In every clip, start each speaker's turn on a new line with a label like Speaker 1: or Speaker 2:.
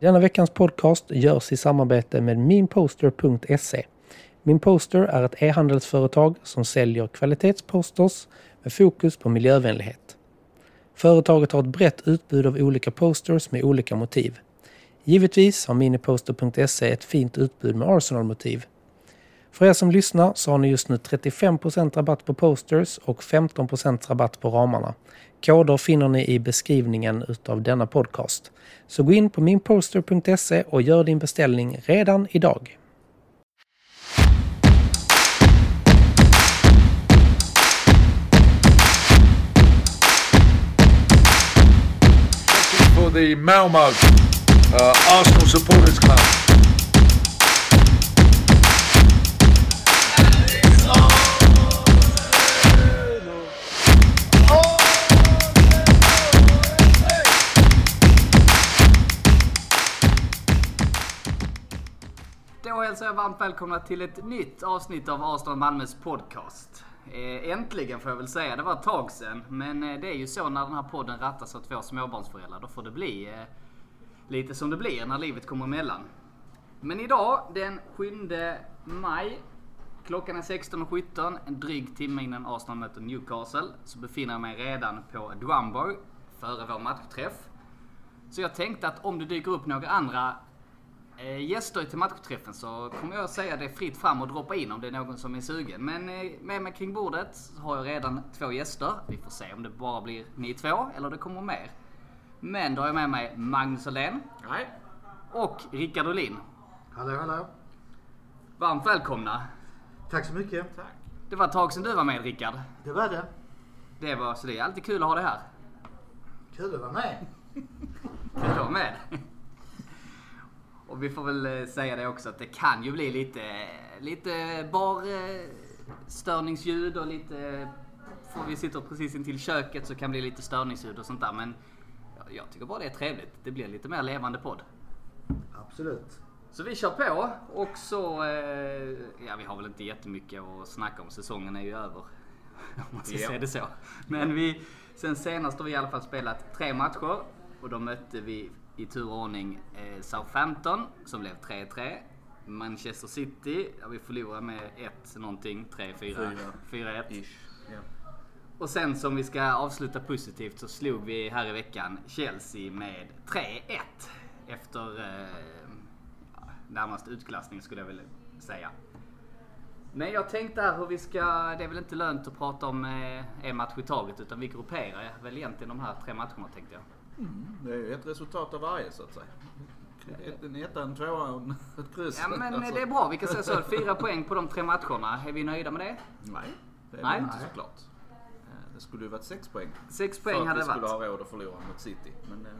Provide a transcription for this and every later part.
Speaker 1: Denna veckans podcast görs i samarbete med minposter.se. Minposter är ett e-handelsföretag som säljer kvalitetsposters med fokus på miljövänlighet. Företaget har ett brett utbud av olika posters med olika motiv. Givetvis har miniposter.se ett fint utbud med Arsenal-motiv. För er som lyssnar så har ni just nu 35% rabatt på posters och 15% rabatt på ramarna. Koder finner ni i beskrivningen utav denna podcast. Så gå in på minposter.se och gör din beställning redan idag.
Speaker 2: for the Malmo uh, Arsenal Supporters Club.
Speaker 3: Då hälsar jag varmt välkomna till ett nytt avsnitt av Arsenal Malmös podcast. Eh, Äntligen får jag väl säga, det var ett tag sedan. Men eh, det är ju så när den här podden rattas av två småbarnsföräldrar, då får det bli eh, lite som det blir när livet kommer emellan. Men idag den 7 maj, klockan är 16.17, en dryg timme innan Arsenal möter Newcastle, så befinner jag mig redan på Drumboy före vår matchträff. Så jag tänkte att om det dyker upp några andra eh, gäster till matchträffen så kommer jag säga det fritt fram och droppa in om det är någon som är sugen. Men eh, med mig kring bordet så har jag redan två gäster. Vi får se om det bara blir ni två eller det kommer mer. Men då har jag med mig Magnus Åhlén
Speaker 4: Nej.
Speaker 3: och Rickard Olin.
Speaker 4: Hallå, hallå.
Speaker 3: Varmt välkomna!
Speaker 4: Tack så mycket. Tack.
Speaker 3: Det var ett tag sedan du var med Rickard.
Speaker 4: Det var det.
Speaker 3: Det var, så det är alltid kul att ha det här.
Speaker 4: Kul att vara med.
Speaker 3: Kul att med. Och vi får väl eh, säga det också att det kan ju bli lite, lite bar eh, störningsljud och lite... För vi sitter precis intill köket så kan det bli lite störningsljud och sånt där men jag- jag tycker bara det är trevligt. Det blir lite mer levande podd.
Speaker 4: Absolut.
Speaker 3: Så vi kör på och så... Eh, ja, vi har väl inte jättemycket att snacka om. Säsongen är ju över. Om man ska
Speaker 4: Ja.
Speaker 3: säga det så. Men vi... Sen senast har vi i alla fall spelat tre matcher. Och då mötte vi i tur och ordning eh, Southampton som blev 3-3. Manchester City, där vi förlorade med 1 någonting, 3-4, 4-1. Och sen som vi ska avsluta positivt så slog vi här i veckan Chelsea med 3-1. Efter eh, närmast utklassning skulle jag väl säga. Men jag tänkte här hur vi ska, det är väl inte lönt att prata om eh, en match i taget utan vi grupperar väl egentligen de här tre matcherna tänkte jag.
Speaker 5: Det är ju ett resultat av varje så att säga. Ett- En etta, en tvåa och en- ett kryss.
Speaker 3: Ja men
Speaker 5: Alltså,
Speaker 3: det är bra, vi kan säga så. Fyra poäng på de tre matcherna. Är vi nöjda med det?
Speaker 5: Nej, det är
Speaker 3: Nej.
Speaker 5: Nej. inte
Speaker 3: Nej.
Speaker 5: såklart. Eh, Det skulle ju varit sex poäng.
Speaker 3: Sex
Speaker 5: för
Speaker 3: poäng
Speaker 5: att
Speaker 3: hade
Speaker 5: vi
Speaker 3: det
Speaker 5: skulle
Speaker 3: varit.
Speaker 5: ha råd att förlora mot City. Men eh,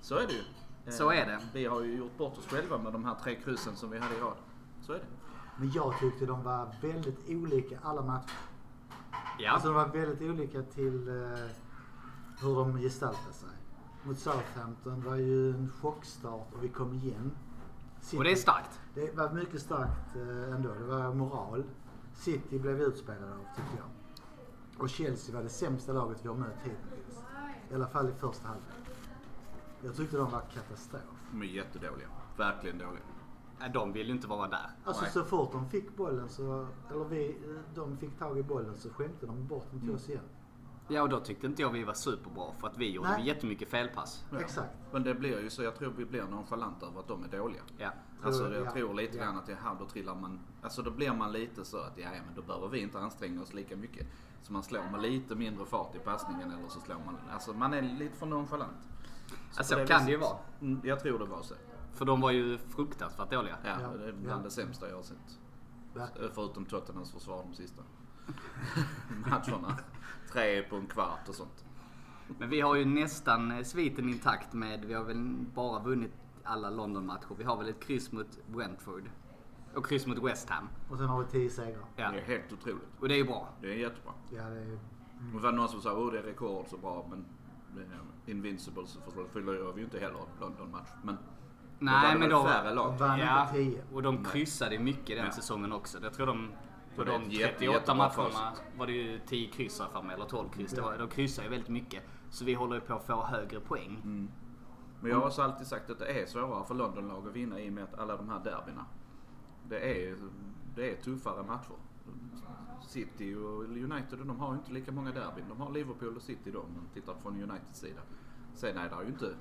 Speaker 5: så är det ju. Eh,
Speaker 3: Så är det.
Speaker 5: Vi har ju gjort bort oss själva med de här tre kryssen som vi hade i rad. Så är det.
Speaker 4: Men jag tyckte de var väldigt olika alla matcher.
Speaker 3: Ja.
Speaker 4: Alltså de var väldigt olika till eh, hur de gestaltade sig. Mot Southampton var ju en chockstart och vi kom igen. City-
Speaker 3: Och det är starkt.
Speaker 4: Det var mycket starkt eh, ändå. Det var moral. City blev utspelade av tycker jag. Och Chelsea var det sämsta laget vi har mött hittills. I alla fall i första halvlek. Jag tyckte de var katastrof.
Speaker 5: De är jättedåliga. Verkligen dåliga.
Speaker 3: Ja, De vill ju inte vara där.
Speaker 4: Alltså
Speaker 5: Nej.
Speaker 4: så fort de fick bollen så, eller vi, eh, de fick tag i bollen så skänkte de bort den till
Speaker 5: Mm.
Speaker 4: oss igen.
Speaker 3: Ja och då tyckte inte jag vi var superbra för att vi gjorde
Speaker 4: Nej.
Speaker 3: jättemycket felpass.
Speaker 5: Ja.
Speaker 4: Exakt.
Speaker 5: Men det blir ju så, jag tror vi blir nonchalanta över att de är dåliga.
Speaker 3: Mm, Ja.
Speaker 5: Alltså
Speaker 4: Tror-
Speaker 5: jag
Speaker 4: ja,
Speaker 5: tror lite
Speaker 4: ja.
Speaker 5: grann att det är här då trillar man, alltså då blir man lite så att ja, ja, men då behöver vi inte anstränga oss lika mycket. Så man slår med lite mindre fart i passningen eller så slår man, alltså man är lite för nonchalant.
Speaker 3: Ja,
Speaker 5: på
Speaker 3: så kan Alltså, det ju
Speaker 5: viset-
Speaker 3: vara.
Speaker 5: Mm, Jag tror det var så.
Speaker 3: För de var ju fruktansvärt dåliga.
Speaker 5: Ja,
Speaker 4: Ja,
Speaker 5: det är bland
Speaker 4: ja.
Speaker 5: det sämsta jag har sett.
Speaker 4: Verkligen.
Speaker 5: Förutom Tottenhams försvar de sista matcherna. Tre på en kvart och sånt.
Speaker 3: Men vi har ju nästan eh, sviten intakt med, vi har väl bara vunnit alla London-matcher. Vi har väl ett kryss mot Brentford och kryss mot West Ham.
Speaker 4: Och sen har vi tio segrar.
Speaker 3: Ja.
Speaker 5: Det är helt otroligt.
Speaker 3: Och det är ju bra.
Speaker 5: Det är jättebra.
Speaker 4: Ja, det är,
Speaker 5: Det var någon som sa åh det är rekord så bra men eh, Invincible så förlorar vi ju inte heller London-match. Men
Speaker 3: Nej,
Speaker 5: var det
Speaker 3: men
Speaker 5: väl
Speaker 3: då-
Speaker 5: färre lag.
Speaker 4: de vann
Speaker 3: Ja,
Speaker 4: inte tio.
Speaker 3: och de kryssade mycket den
Speaker 5: Ja.
Speaker 3: säsongen också. Jag tror de på
Speaker 5: Det är
Speaker 3: de
Speaker 5: ett jätte-
Speaker 3: 38
Speaker 5: jättebra
Speaker 3: matcherna
Speaker 5: facit.
Speaker 3: var det ju 10 kryss
Speaker 5: Mm.
Speaker 3: här framme, eller 12 kryss. Det var, de kryssade ju väldigt mycket. Så vi håller ju på att få högre poäng.
Speaker 5: Men
Speaker 4: Mm.
Speaker 5: jag har också alltid sagt att det är svårare för Londonlag att vinna i och med att alla de här derbyna. Det är, det är tuffare matcher. City och United de har ju inte lika många derbyn. De har Liverpool och City då om man tittar från Uniteds sida. Sen är det ju inte...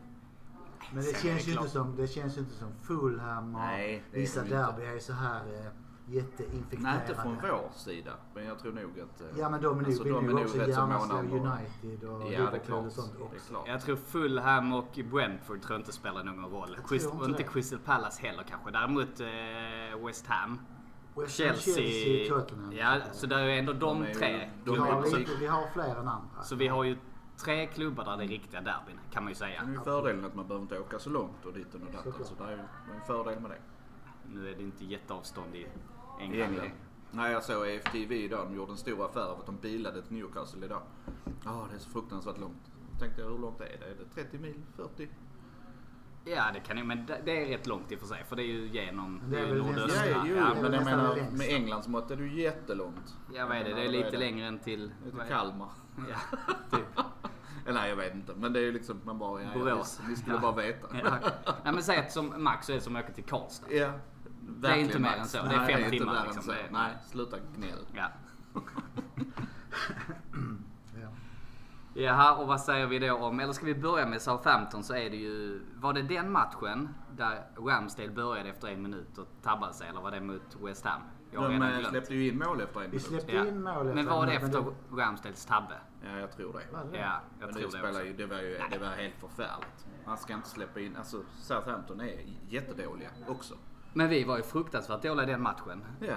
Speaker 4: Men
Speaker 5: Sen
Speaker 4: det
Speaker 5: är
Speaker 4: känns, ju
Speaker 5: klart.
Speaker 4: inte som, det känns ju inte som Fulham och
Speaker 5: Nej, det är
Speaker 4: vissa
Speaker 5: det inte.
Speaker 4: derby är så här eh, jätteinfekterade.
Speaker 5: Nej, inte från vår sida. Men jag tror nog att... eh,
Speaker 4: Ja men de är nog,
Speaker 5: alltså,
Speaker 4: vill nog också
Speaker 5: rätt så
Speaker 4: gärna
Speaker 5: måna
Speaker 4: slå
Speaker 5: om att-
Speaker 4: United och
Speaker 5: Ja, det är
Speaker 4: Liverpool och
Speaker 5: klart.
Speaker 4: sånt
Speaker 5: Det är
Speaker 4: också.
Speaker 5: klart.
Speaker 3: Jag tror Fulham och Brentford tror jag inte spelar någon roll.
Speaker 4: Jag tror
Speaker 3: Crystal,
Speaker 4: inte
Speaker 3: och inte
Speaker 4: det.
Speaker 3: Crystal Palace heller kanske. Däremot eh, West Ham.
Speaker 4: West Ham,
Speaker 3: Chelsea.
Speaker 4: Tottenham.
Speaker 3: Ja, så där är ändå de,
Speaker 5: De är ju-
Speaker 3: tre.
Speaker 5: de
Speaker 4: vi, har
Speaker 5: är ju-
Speaker 4: lite, vi har fler än andra.
Speaker 3: Så vi har ju tre klubbar där det är riktiga derbyn kan man ju säga.
Speaker 5: Det är ju fördelen att man behöver inte åka så långt och dit och datten. Så det är ju en fördel med det.
Speaker 3: Nu är det inte jätteavstånd i England.
Speaker 5: I England. Nej, jag såg AFTV idag. De gjorde en stor affär av att de bilade till Newcastle idag. Ja, det är så fruktansvärt långt. Då tänkte jag, hur långt är det? Är det 30 mil? 40?
Speaker 3: Ja, det kan ju, men det- det är rätt långt i och för sig. För det är ju genom
Speaker 4: Men det är väl
Speaker 5: Ja,
Speaker 3: nordöstra.
Speaker 4: nästan-
Speaker 5: ja, jo,
Speaker 4: det är
Speaker 3: Ja,
Speaker 4: väl
Speaker 5: men jag
Speaker 4: nästan
Speaker 5: menar
Speaker 4: längst.
Speaker 5: med Englands mått är det ju jättelångt.
Speaker 3: ja, vad är det? Det är
Speaker 5: Jag menar, vad
Speaker 3: lite längre än till...
Speaker 5: Det är
Speaker 3: vad
Speaker 5: till
Speaker 3: är
Speaker 5: Kalmar.
Speaker 3: det? Ja, typ.
Speaker 5: Eller nej, jag vet inte. Men det är ju liksom, man bara, ja, ja,
Speaker 3: Borås.
Speaker 5: visst, ni skulle
Speaker 3: Ja.
Speaker 5: bara veta.
Speaker 3: Ja. Nej, men säg att som max så är det som att åka till Karlstad.
Speaker 5: Ja,
Speaker 3: Det är inte
Speaker 5: verkligen,
Speaker 3: mer
Speaker 5: Max.
Speaker 3: än så. Det är
Speaker 5: Nej,
Speaker 3: fem
Speaker 5: inte
Speaker 3: timmar,
Speaker 5: mer än
Speaker 3: liksom.
Speaker 5: så.
Speaker 3: Det är-
Speaker 5: Nej, sluta gnäll.
Speaker 3: Ja.
Speaker 4: Ja.
Speaker 3: Jaha, och vad säger vi då om, eller ska vi börja med Southampton så är det ju, var det den matchen där Ramsdale började efter en minut och tabbade sig eller var det mot West Ham? Jag har
Speaker 5: De
Speaker 3: redan
Speaker 5: eh,
Speaker 3: glömt.
Speaker 5: släppte ju in mål efter en
Speaker 4: Vi
Speaker 5: minut.
Speaker 4: släppte
Speaker 3: Ja.
Speaker 4: in mål
Speaker 3: Men var det
Speaker 4: en minut,
Speaker 3: efter
Speaker 4: men
Speaker 3: Ramsdales tabbe?
Speaker 5: Ja, jag tror det.
Speaker 4: Vad är det?
Speaker 3: Ja, jag
Speaker 5: Men
Speaker 3: tror
Speaker 5: det,
Speaker 3: det också.
Speaker 5: spelar ju, det, var ju, det var helt förfärligt. Man ska inte släppa in... Alltså Southampton är jättedåliga också.
Speaker 3: Men vi var ju fruktansvärt dåliga i den matchen.
Speaker 5: Ja.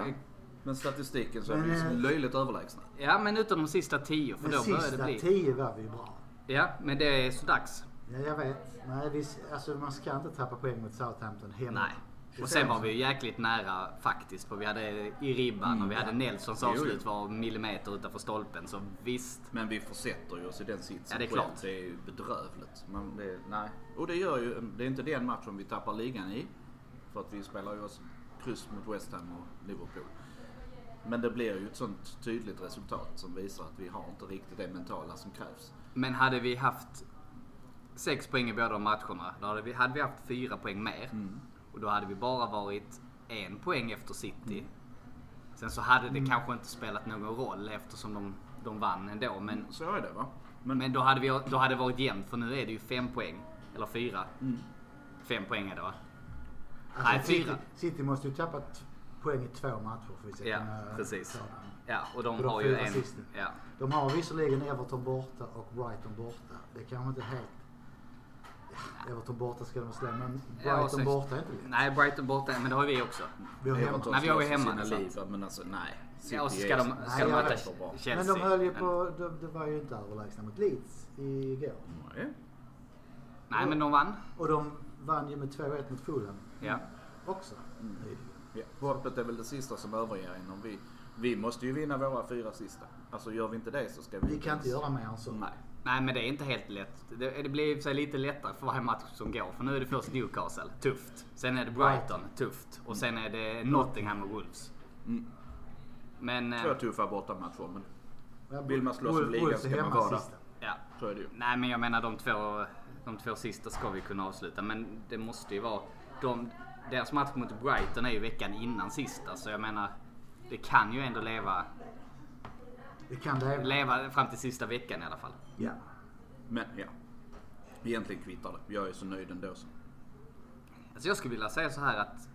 Speaker 5: Men statistiken så är
Speaker 4: Men,
Speaker 5: vi
Speaker 3: Mm.
Speaker 5: liksom
Speaker 4: eh,
Speaker 5: löjligt överlägsna.
Speaker 3: Ja, men utom de sista tio för
Speaker 4: Men
Speaker 3: då började det
Speaker 4: sista
Speaker 3: bli...
Speaker 4: tio var vi bra.
Speaker 3: Ja, men det är så dags.
Speaker 4: Ja, jag vet. Nej, vi, alltså, man ska inte tappa poäng mot Southampton hemma.
Speaker 3: Nej. Och sen var vi ju jäkligt nära faktiskt. För vi hade i ribban och vi
Speaker 4: Mm.
Speaker 3: hade Nelsons
Speaker 5: Jo, jo.
Speaker 3: avslut var millimeter utanför stolpen. Så visst.
Speaker 5: Men vi försätter ju oss i den sitsen
Speaker 3: Ja, det är
Speaker 5: själv.
Speaker 3: klart.
Speaker 5: Det är ju bedrövligt. Men det, nej. Och det gör ju... Det är inte den matchen vi tappar ligan i. För att vi spelar ju oss kryss mot West Ham och Liverpool. Men det blir ju ett sånt tydligt resultat som visar att vi har inte riktigt det mentala som krävs.
Speaker 3: Men hade vi haft sex poäng i båda de matcherna. Då hade vi, hade vi haft fyra poäng mer.
Speaker 4: Mm.
Speaker 3: Och då hade vi bara varit en poäng efter City.
Speaker 4: Mm.
Speaker 3: Sen så hade det kanske inte spelat någon roll eftersom de, de vann ändå. Men,
Speaker 5: Så är det va?
Speaker 3: men då, hade vi, då hade det varit jämnt för nu är det ju fem poäng. Eller fyra.
Speaker 4: Mm.
Speaker 3: Fem poäng är det va?
Speaker 4: Alltså,
Speaker 3: Nej,
Speaker 4: City,
Speaker 3: fyra.
Speaker 4: City måste ju tappa t- poäng i två matcher för att vi ska
Speaker 3: Ja,
Speaker 4: kunna
Speaker 3: precis.
Speaker 4: ta dem.
Speaker 3: Ja, och de
Speaker 4: För de
Speaker 3: har ju
Speaker 4: fyra
Speaker 3: en...
Speaker 4: sista.
Speaker 3: Ja.
Speaker 4: De har visserligen Everton borta och Brighton borta. Det kanske inte helt... Ja, Everton borta ska de slå, men
Speaker 3: Ja,
Speaker 4: Brighton
Speaker 3: och sen-
Speaker 4: borta är inte lätt.
Speaker 3: Nej, Brighton borta, men det har vi också.
Speaker 4: Vi har hemma.
Speaker 5: Everton
Speaker 3: Nej, vi har ju
Speaker 5: slåss för
Speaker 3: hemma,
Speaker 5: sina
Speaker 3: det är
Speaker 5: liv, men alltså nej.
Speaker 3: Ja, och så
Speaker 5: City
Speaker 3: ska
Speaker 5: är-
Speaker 3: de,
Speaker 4: Nej,
Speaker 3: ska de
Speaker 4: jag
Speaker 3: möta
Speaker 4: vet.
Speaker 3: Chelsea.
Speaker 4: Men de höll ju på... De, det var ju inte överlägsna mot Leeds igår.
Speaker 5: Nej.
Speaker 3: Nej, men de vann.
Speaker 4: Och de vann ju med 2-1 mot Fulham
Speaker 3: Ja.
Speaker 4: också
Speaker 3: Mm.
Speaker 4: nyligen.
Speaker 5: Ja. Hoppet är väl det sista som överger en. Om vi, vi måste ju vinna våra fyra sista. Alltså gör vi inte det så ska vi...
Speaker 4: Vi kan inte göra mer än så.
Speaker 5: Nej.
Speaker 3: Nej, men det är inte helt lätt. Det, det blir i och för sig lite lättare för varje match som går. För nu är det först Newcastle, tufft. Sen är det Brighton, tufft. Och sen är det Nottingham och Wolves.
Speaker 5: Mm.
Speaker 3: Men... eh,
Speaker 5: Två tuffa bortamatcher, men
Speaker 4: Men
Speaker 5: Vill man slåss om
Speaker 4: Wolf-
Speaker 5: ligan
Speaker 4: Wolves
Speaker 5: ska
Speaker 4: är
Speaker 5: man
Speaker 4: hemma
Speaker 5: vara där.
Speaker 4: sista.
Speaker 3: Ja.
Speaker 5: så är det ju.
Speaker 3: Nej, men jag menar de två, de två sista ska vi kunna avsluta. Men det måste ju vara... De, deras match mot Brighton är ju veckan innan sista, så jag menar... Det kan ju ändå leva,
Speaker 4: Vi kan det. även.
Speaker 3: leva fram till sista veckan i alla fall.
Speaker 4: Ja.
Speaker 5: Men ja. Egentligen kvittar det. Jag är så nöjd ändå. Så.
Speaker 3: Alltså jag skulle vilja säga så här att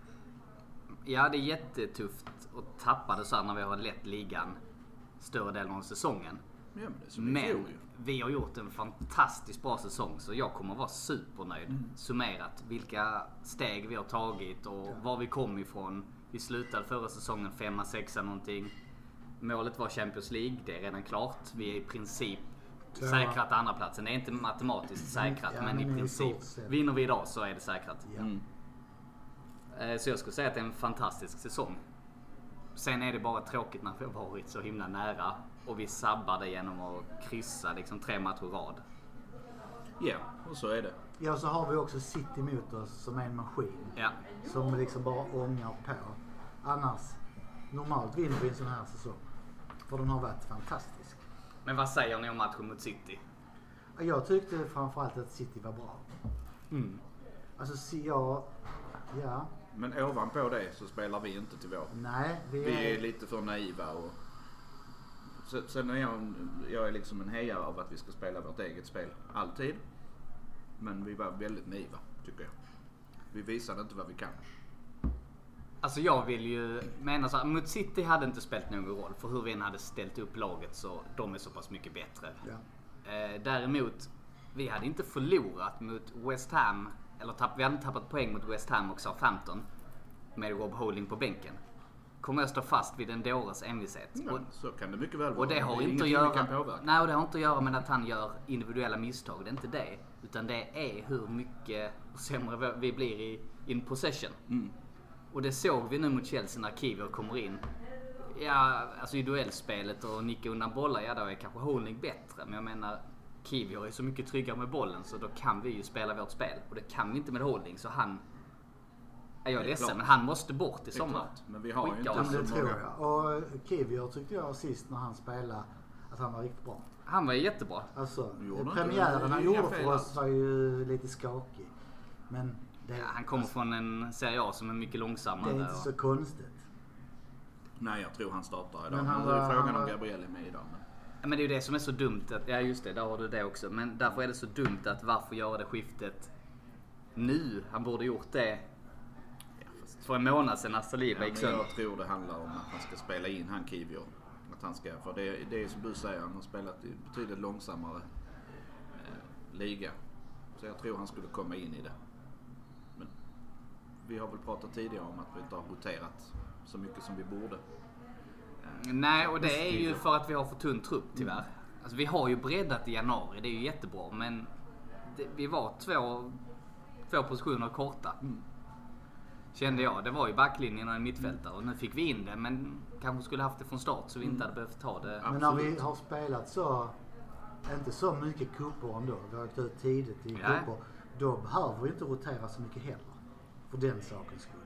Speaker 3: ja, det är jättetufft att tappa det så här när vi har lett ligan större delen av säsongen.
Speaker 5: Ja, men det är som i
Speaker 3: Men
Speaker 5: fjol ju.
Speaker 3: vi har gjort en fantastiskt bra säsong så jag kommer vara supernöjd.
Speaker 5: Mm.
Speaker 3: Summerat vilka steg vi har tagit och var vi kom ifrån. Vi slutade förra säsongen femma, sexa någonting. Målet var Champions League, det är redan klart. Vi är i princip
Speaker 4: Tvåa.
Speaker 3: säkrat andra platsen. Det är inte matematiskt
Speaker 5: Mm.
Speaker 3: säkrat
Speaker 4: Ja,
Speaker 3: men
Speaker 4: men
Speaker 3: i
Speaker 4: i
Speaker 3: princip.
Speaker 4: stort sett.
Speaker 3: Vinner vi idag så är det säkrat.
Speaker 4: Ja.
Speaker 3: Eh, Så jag skulle säga att det är en fantastisk säsong. Sen är det bara tråkigt när vi har varit så himla nära och vi sabbade genom att kryssa liksom tre matcher i rad.
Speaker 5: Ja, och så är det.
Speaker 4: ja, så har vi också City mot oss som är en maskin.
Speaker 3: Ja.
Speaker 4: Som liksom bara ångar på. Annars, normalt vinner vi en sån här säsong. För den har varit fantastisk.
Speaker 3: Men vad säger ni om matchen mot City?
Speaker 5: Mm.
Speaker 4: Jag tyckte framförallt att City var bra. Alltså CA, ja,
Speaker 5: Men ovanpå det så spelar vi inte till vår.
Speaker 4: nej. Vi är,
Speaker 5: Vi är lite för naiva och... Så- Sen är jag, en- jag är liksom en hejare av att vi ska spela vårt eget spel, alltid. Men vi var väldigt naiva, tycker jag. Vi visade inte vad vi kan.
Speaker 3: Alltså jag vill ju mena så här, mot City hade inte spelat någon roll för hur vi än hade ställt upp laget så de är så pass mycket bättre.
Speaker 4: ja.
Speaker 3: Eh, däremot, vi hade inte förlorat mot West Ham, eller tapp, vi hade inte tappat poäng mot West Ham och Southampton med Rob Holding på bänken. Kommer jag stå fast vid en dåres envishet. Och,
Speaker 5: Men så kan det mycket väl vara.
Speaker 3: och det har
Speaker 5: är
Speaker 3: inte att
Speaker 5: ingenting vi kan
Speaker 3: göra,
Speaker 5: påverka.
Speaker 3: nej, och det har inte att göra med att han gör individuella misstag, det är inte det. Utan det är hur mycket sämre vi- vi blir i in possession.
Speaker 5: Mm.
Speaker 3: Och det såg vi nu mot Chelsea när Kivio kommer in. Ja, alltså i duellspelet och nicka undan bollar, ja då är kanske Holding bättre. Men jag menar, Kivio är så mycket tryggare med bollen så då kan vi ju spela vårt spel. Och det kan vi inte med Holding, så han... Ja, jag är
Speaker 5: Det är
Speaker 3: ledsen,
Speaker 5: klart.
Speaker 3: men han måste bort i
Speaker 5: Det är
Speaker 3: sommar.
Speaker 5: klart, Men vi har ju
Speaker 3: Skicka
Speaker 5: inte
Speaker 3: oss.
Speaker 5: så
Speaker 4: Det tror
Speaker 5: många.
Speaker 4: jag. Och Kivior tyckte jag sist när han spelade att han var riktigt bra.
Speaker 3: Han var ju jättebra.
Speaker 4: Alltså,
Speaker 5: Gjorde inte.
Speaker 4: premiären han
Speaker 5: Inga
Speaker 4: gjorde för
Speaker 5: fel
Speaker 4: oss
Speaker 5: alls.
Speaker 4: var ju lite skakig. Men det,
Speaker 3: Ja, han kommer från en Serie A som är mycket
Speaker 4: Alltså- det
Speaker 3: långsammare.
Speaker 4: är inte så konstigt.
Speaker 5: Nej, jag tror han startar idag.
Speaker 4: Men
Speaker 5: Men
Speaker 4: han
Speaker 5: det
Speaker 4: var-
Speaker 5: är
Speaker 4: han
Speaker 5: frågan
Speaker 4: var-
Speaker 5: om Gabriel är med idag. Men...
Speaker 3: Ja, Men det är ju det som är så dumt. Att, ja just det, där har du det också. Men därför är det så dumt att varför göra det skiftet nu? Han borde gjort det för en månad sedan när Saliba
Speaker 5: Ja,
Speaker 3: gick
Speaker 5: men
Speaker 3: sönder.
Speaker 5: jag tror det handlar om att han ska spela in han Kivio. Att han ska, för det, det är som du säger, han har spelat i betydligt långsammare eh, liga. Så jag tror han skulle komma in i det. Men vi har väl pratat tidigare om att vi inte har roterat så mycket som vi borde.
Speaker 3: Nej, och
Speaker 4: Alltså,
Speaker 3: det är ju för att vi har för tunn trupp tyvärr.
Speaker 4: Mm.
Speaker 3: Alltså, vi har ju breddat i januari, det är ju jättebra. Men det, vi var två, två positioner korta.
Speaker 4: Mm.
Speaker 3: Kände jag. Det var ju backlinjen och en mittfältare. Och nu fick vi in det, men kanske skulle haft det från start så vi
Speaker 4: Mm.
Speaker 3: inte hade behövt ta det.
Speaker 5: Ja.
Speaker 4: Men när vi
Speaker 5: Absolut.
Speaker 4: har spelat så, inte så mycket kuppor ändå, vi har åkt ut tidigt i
Speaker 3: Nej.
Speaker 4: kuppor, då behöver vi inte rotera så mycket heller. För den sakens skull.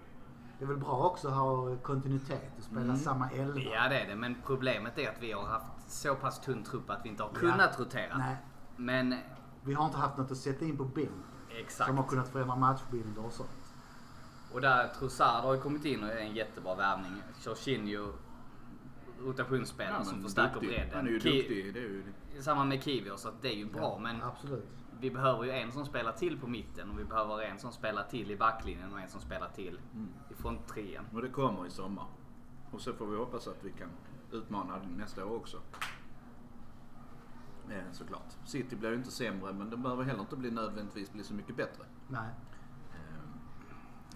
Speaker 4: Det är väl bra också att ha kontinuitet och spela
Speaker 5: Mm.
Speaker 4: samma elva.
Speaker 3: Ja det är det, men problemet är att vi har haft så pass tunn trupp att vi inte har kunnat rotera.
Speaker 4: Nej,
Speaker 3: Men eh,
Speaker 4: vi har inte haft något att sätta in på bänk
Speaker 3: exakt.
Speaker 4: som har kunnat förändra matchbilder och sånt.
Speaker 3: Och där Trossard har ju kommit in och är en jättebra värvning. Jorginho, rotationsspelare som förstärker
Speaker 5: duktig.
Speaker 3: bredden.
Speaker 5: Han är ju
Speaker 3: Ki-
Speaker 5: duktig. Det är ju,
Speaker 3: Samma med Kivio, så att det är ju bra. Men
Speaker 4: Absolut.
Speaker 3: vi behöver ju en som spelar till på mitten och vi behöver en som spelar till i backlinjen och en som spelar till
Speaker 5: Mm.
Speaker 3: i fronttrean.
Speaker 5: och det kommer i sommar. Och så får vi hoppas att vi kan utmana nästa år också. Eh, såklart. City blir ju inte sämre men de behöver heller inte bli nödvändigtvis bli så mycket bättre.
Speaker 4: Nej.
Speaker 5: Eh,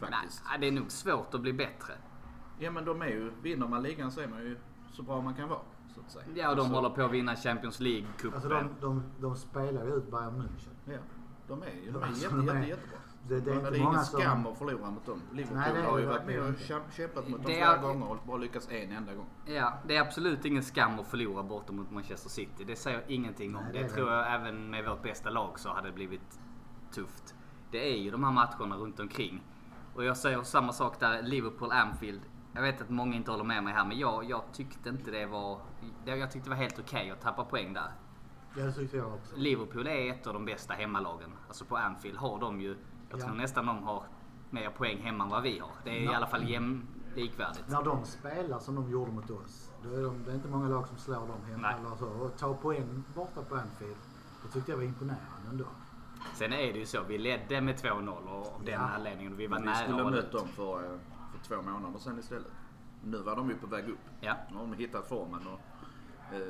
Speaker 3: Nej,
Speaker 5: Faktiskt.
Speaker 3: det är nog svårt att bli bättre.
Speaker 5: Ja men de är ju, vinner man ligan så är man ju så bra man kan vara. Så att säga.
Speaker 3: Ja, och de
Speaker 5: Alltså,
Speaker 3: håller på att vinna Champions League-cupen.
Speaker 4: Alltså de, de, de spelar ju ut Bayern München.
Speaker 5: Ja, de är ju de är
Speaker 4: Alltså,
Speaker 5: jätte,
Speaker 4: de är-
Speaker 5: jätte, jättebra.
Speaker 4: det- det är
Speaker 5: Men
Speaker 4: inte
Speaker 5: det är ingen
Speaker 4: många som-
Speaker 5: skam att förlora mot dem. Liverpool
Speaker 4: Nej, det är
Speaker 5: har
Speaker 4: det
Speaker 5: ju varit med och
Speaker 4: verkligen
Speaker 5: käm- kämpat mot dem
Speaker 3: Det
Speaker 5: flera
Speaker 3: är-
Speaker 5: gånger och bara lyckats en enda gång.
Speaker 3: Ja, det är absolut ingen skam att förlora borta mot Manchester City. Det säger jag ingenting om.
Speaker 4: Nej, det
Speaker 3: det
Speaker 4: är det
Speaker 3: tror jag även med vårt bästa lag så hade det blivit tufft. Det är ju de här matcherna runt omkring. Och jag säger samma sak där, Liverpool Anfield. Jag vet att många inte håller med mig här, men jag, jag tyckte inte det var... det- Jag tyckte det var helt okej att tappa poäng där.
Speaker 4: Ja, Det tyckte jag också.
Speaker 3: Liverpool är ett av de bästa hemmalagen. Alltså på Anfield har de ju... Jag
Speaker 4: Ja.
Speaker 3: tror nästan de har mer poäng hemma än vad vi har. Det är i alla fall jämn, likvärdigt.
Speaker 4: När de spelar som de gjorde mot oss, då är de, det är inte många lag som slår dem hemma.
Speaker 3: Nej.
Speaker 4: Eller så. Och ta poäng borta på Anfield, det tyckte jag var imponerande ändå.
Speaker 3: Sen är det ju så, vi ledde med 2-0 och av den
Speaker 4: Ja.
Speaker 3: anledningen. Vi var
Speaker 5: Men vi
Speaker 3: nära
Speaker 5: skulle ha
Speaker 3: att-
Speaker 5: mött dem för, eh, för två månader sedan istället. Nu var de ju på väg upp.
Speaker 3: Ja.
Speaker 5: Nu har de hittat formen och eh,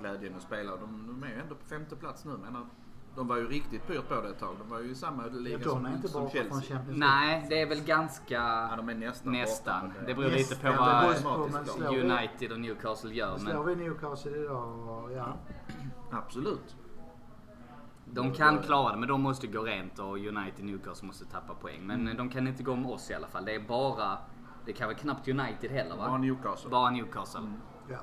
Speaker 5: glädjen att spela. De, de är ju ändå på femte plats nu. Men de var ju riktigt pyrt på det ett tag. De var ju i samma liga
Speaker 4: Ja, de
Speaker 5: som,
Speaker 4: är inte
Speaker 5: som
Speaker 4: borta
Speaker 5: Chelsea.
Speaker 4: från Champions League.
Speaker 3: Nej, det är väl ganska
Speaker 5: Ja, de är nästan,
Speaker 3: nästan.
Speaker 5: borta. men
Speaker 3: Det beror lite
Speaker 4: Nästan.
Speaker 3: på
Speaker 4: Det
Speaker 3: vad
Speaker 5: beror på, men
Speaker 4: slår vi-
Speaker 3: United och Newcastle gör.
Speaker 4: Slår
Speaker 3: Men
Speaker 4: vi Newcastle idag, och, ja.
Speaker 5: Absolut.
Speaker 3: de kan klara det, men de måste gå rent och United och Newcastle måste tappa poäng. Men de kan inte gå om oss i alla fall. Det är bara... Det kan väl knappt United heller va?
Speaker 5: Bara Newcastle.
Speaker 3: Bara Newcastle.
Speaker 4: ja.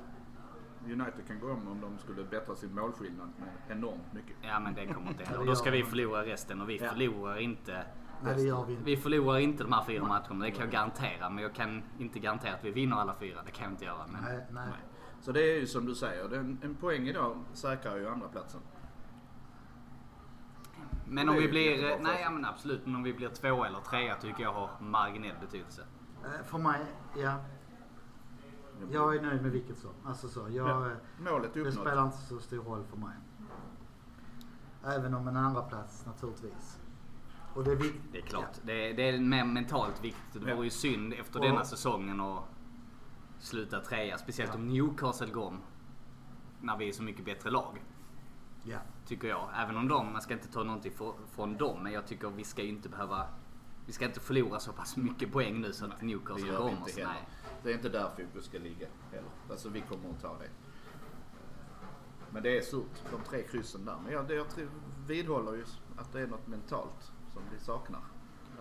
Speaker 5: United kan gå om om de skulle bättra sin målskillnad med enormt mycket.
Speaker 3: Ja men det kommer inte hända.
Speaker 4: det
Speaker 3: Då ska
Speaker 4: gör
Speaker 3: vi
Speaker 4: de.
Speaker 3: förlora resten och vi
Speaker 5: Ja.
Speaker 3: förlorar inte
Speaker 4: Nej, det gör vi inte.
Speaker 3: Vi förlorar inte de här fyra matcherna, det kan jag garantera. Men jag kan inte garantera att vi vinner alla fyra. Det kan jag inte göra. Men
Speaker 4: Nej, nej.
Speaker 5: Nej. Så det är ju som du säger, en, en poäng idag säkrar ju andra platsen.
Speaker 3: Men om
Speaker 5: Det är
Speaker 3: vi
Speaker 5: ju jättebra
Speaker 3: blir... eh,
Speaker 5: för
Speaker 3: Nej,
Speaker 5: oss.
Speaker 3: ja, men absolut. Men om vi blir två eller trea tycker jag har marginell betydelse.
Speaker 4: Eh, För mig, ja. Jag är nöjd med vilket som. Alltså så. Jag,
Speaker 5: Ja.
Speaker 4: eh,
Speaker 5: Målet är
Speaker 4: Det
Speaker 5: uppnått.
Speaker 4: spelar inte så stor roll för mig. Även om en andra plats naturligtvis. Och det är viktigt.
Speaker 3: Det är klart. Det, är, det är mer mentalt viktigt. Det
Speaker 5: Ja.
Speaker 3: vore ju synd efter
Speaker 4: Och-
Speaker 3: denna säsongen att sluta trea. Speciellt
Speaker 4: Ja.
Speaker 3: om Newcastle går om. När vi är så mycket bättre lag.
Speaker 4: Ja.
Speaker 3: Tycker jag. Även om de, man ska inte ta någonting fr- från dem. Men jag tycker vi ska ju inte behöva... Vi ska inte förlora så pass mycket poäng nu så att
Speaker 5: Det
Speaker 3: Newcastle
Speaker 5: gör
Speaker 3: går
Speaker 5: vi
Speaker 3: om oss.
Speaker 5: inte heller.
Speaker 3: Nej.
Speaker 5: Det är inte där fokus ska ligga heller. Alltså vi kommer att ta det. Men det är surt, de tre kryssen där. Men jag, det- jag tror- vidhåller ju att det är något mentalt som vi saknar.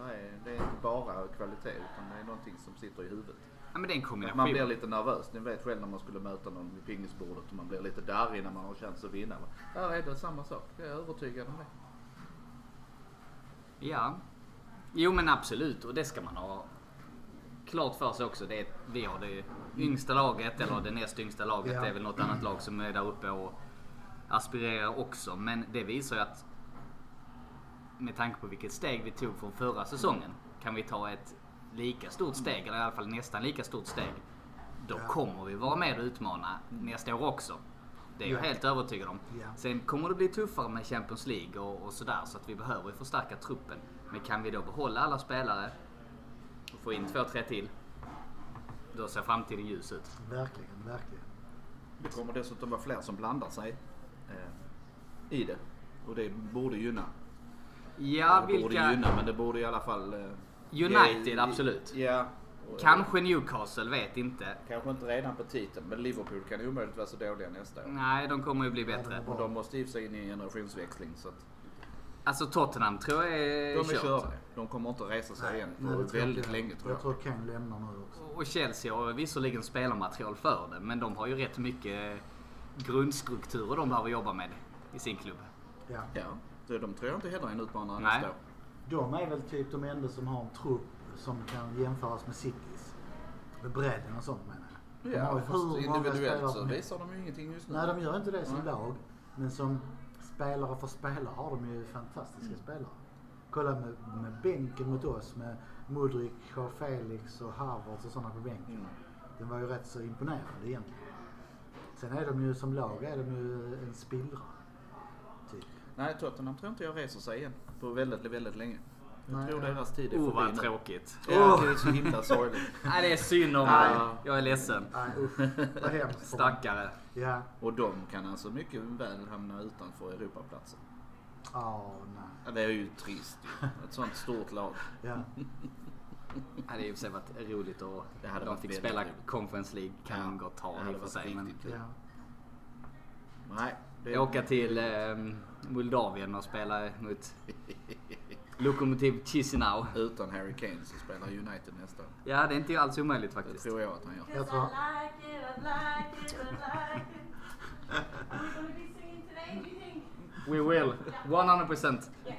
Speaker 5: Det är, det är inte bara kvalitet utan det är någonting som sitter i huvudet.
Speaker 3: Ja, men det är en
Speaker 5: Att
Speaker 3: kombination.
Speaker 5: man blir lite nervös. Ni vet själv när man skulle möta någon vid pingisbordet och man blir lite darrig när man har chans att vinna. va? Där är det samma sak. Jag är övertygad om det.
Speaker 3: Ja. Jo men absolut och det ska man ha klart för sig också. Det är, vi har det yngsta laget eller det näst yngsta laget.
Speaker 4: Ja.
Speaker 3: Det är väl något annat lag som är där uppe och aspirerar också. Men det visar ju att med tanke på vilket steg vi tog från förra säsongen kan vi ta ett lika stort steg eller i alla fall nästan lika stort steg. Då
Speaker 4: Ja.
Speaker 3: kommer vi vara med och utmana nästa år också. Det är jag
Speaker 4: Ja.
Speaker 3: helt övertygad om.
Speaker 4: Ja.
Speaker 3: Sen kommer det bli tuffare med Champions League och, och sådär så att vi behöver ju förstärka truppen. Men kan vi då behålla alla spelare och få in två, tre till. Då ser framtiden ljus ut.
Speaker 4: Verkligen, verkligen.
Speaker 5: Det kommer dessutom vara fler som blandar sig eh, i det. Och det borde gynna.
Speaker 3: Ja,
Speaker 5: det borde
Speaker 3: vilka...
Speaker 5: gynna men det borde i alla fall... Eh,
Speaker 3: United,
Speaker 5: ge-
Speaker 3: absolut.
Speaker 5: Ja. Och, eh,
Speaker 3: Kanske Newcastle, vet inte.
Speaker 5: Kanske inte redan på titeln men Liverpool kan ju omöjligt vara så dåliga nästa år.
Speaker 3: Nej, de kommer ju bli
Speaker 4: Ja,
Speaker 3: bättre.
Speaker 4: det
Speaker 5: Och de måste ju sig in i en generationsväxling så att
Speaker 3: Alltså Tottenham tror jag
Speaker 5: de
Speaker 3: är,
Speaker 5: är
Speaker 3: kört.
Speaker 5: körda. De kommer inte resa sig igen
Speaker 4: nej, det
Speaker 5: på
Speaker 4: tror
Speaker 5: väldigt
Speaker 4: jag.
Speaker 5: länge tror jag.
Speaker 4: Jag tror Kane lämnar nu också.
Speaker 3: Och Chelsea har visserligen spelarmaterial för det, men de har ju rätt mycket grundstrukturer de behöver jobba med i sin klubb.
Speaker 4: Ja.
Speaker 5: Ja, det- de tror jag inte heller är en utmanare
Speaker 3: Nej.
Speaker 5: nästa år.
Speaker 4: De är väl typ de enda som har en trupp som kan jämföras med Citys. Med bredden och sånt menar jag. De har
Speaker 5: Ja,
Speaker 4: ju
Speaker 5: fast
Speaker 4: hur många spelare
Speaker 5: individuellt så
Speaker 4: som helst.
Speaker 5: visar de ju ingenting just nu.
Speaker 4: Nej, de gör inte det som
Speaker 5: Nej.
Speaker 4: lag. Men som spelare för spelare har de ju fantastiska spelare. Kolla med, med bänken mot oss med Mudrik, Carl Felix och Harvards och sådana på bänken.
Speaker 5: Mm.
Speaker 4: Den var ju rätt så imponerande egentligen. Sen är de ju som lag är de ju en spillra. Typ.
Speaker 5: Nej, Tottenham tror inte jag reser sig igen på väldigt, väldigt länge. Jag
Speaker 4: Nej. Oh.
Speaker 5: tror deras tid är
Speaker 3: Oh,
Speaker 5: förbi
Speaker 3: vad
Speaker 5: nu.
Speaker 3: tråkigt.
Speaker 5: Ja, det är så himla sorgligt.
Speaker 3: Nej, det är synd om
Speaker 4: Nej.
Speaker 3: dem. Jag är ledsen.
Speaker 4: Nej usch, vad hemskt. för dem.
Speaker 3: Stackare.
Speaker 4: Ja.
Speaker 5: Och de kan alltså mycket väl hamna utanför Europaplatsen.
Speaker 4: Åh nej.
Speaker 5: Ja, Det är ju trist ju. Ett sånt stort lag.
Speaker 4: Ja.
Speaker 3: Det hade ju i och för sig varit roligt och
Speaker 5: Det hade
Speaker 3: de
Speaker 5: varit
Speaker 3: fick
Speaker 5: väldigt
Speaker 3: spela
Speaker 5: roligt.
Speaker 3: Conference League kan de gott
Speaker 5: Det
Speaker 3: ha
Speaker 5: hade
Speaker 3: i och för
Speaker 5: varit
Speaker 3: sig. Men
Speaker 5: riktigt kul.
Speaker 4: ja.
Speaker 5: Nej. det-
Speaker 3: åka till eh, Moldavien och spela mot Lokomotiv Chisinau.
Speaker 5: Utan Harry Kane så spelar United nästa år.
Speaker 3: Ja, det är inte alls omöjligt
Speaker 5: Det
Speaker 3: faktiskt.
Speaker 5: tror jag att han gör.
Speaker 4: Jag
Speaker 6: Cause I
Speaker 4: tror-
Speaker 6: like it, I like it, I like it. Are we gonna be singing today, do you think?
Speaker 3: We will. 100%.
Speaker 6: Yes.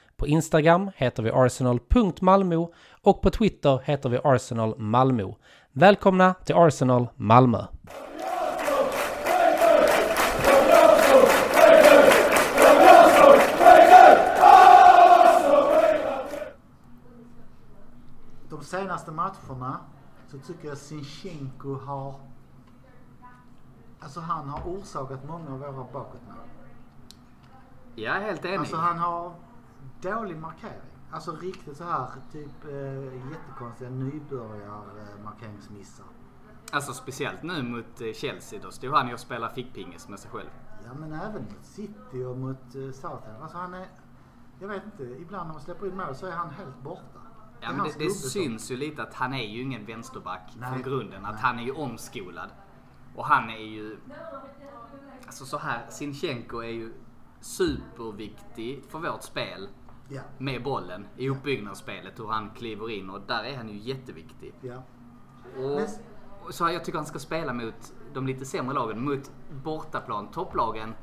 Speaker 1: på Instagram heter vi arsenal.malmo och på Twitter heter vi Arsenal Malmö. Välkomna till Arsenal Malmö!
Speaker 4: De senaste matcherna så tycker jag Sinchenko har... Alltså han har orsakat många av våra bakåtmål.
Speaker 3: Jag är helt enig.
Speaker 4: Alltså han har dålig markering. Alltså riktigt så här typ eh, jättekonstiga nybörjarmarkeringsmissar.
Speaker 3: Alltså speciellt nu mot eh, Chelsea, då stod han ju och spelade fickpingis med sig själv.
Speaker 4: Ja men även mot City och mot eh, Southampton. Alltså han är... Jag vet inte, ibland när man släpper in mål så är han helt borta.
Speaker 3: Ja,
Speaker 4: är
Speaker 3: men
Speaker 4: hans
Speaker 3: det, det
Speaker 4: gubbe, så.
Speaker 3: syns ju lite att han är ju ingen vänsterback
Speaker 4: Nej.
Speaker 3: från grunden. Att
Speaker 4: Nej.
Speaker 3: han är ju omskolad. Och han är ju... Alltså så här, Sinchenko är ju superviktig för vårt spel
Speaker 4: Ja,
Speaker 3: med bollen i uppbyggnadsspelet. Hur han kliver in och där är han ju jätteviktig.
Speaker 4: ja. Men-
Speaker 3: Och, och så här, jag tycker han ska spela mot de lite sämre lagen. Mot bortaplan, topplagen.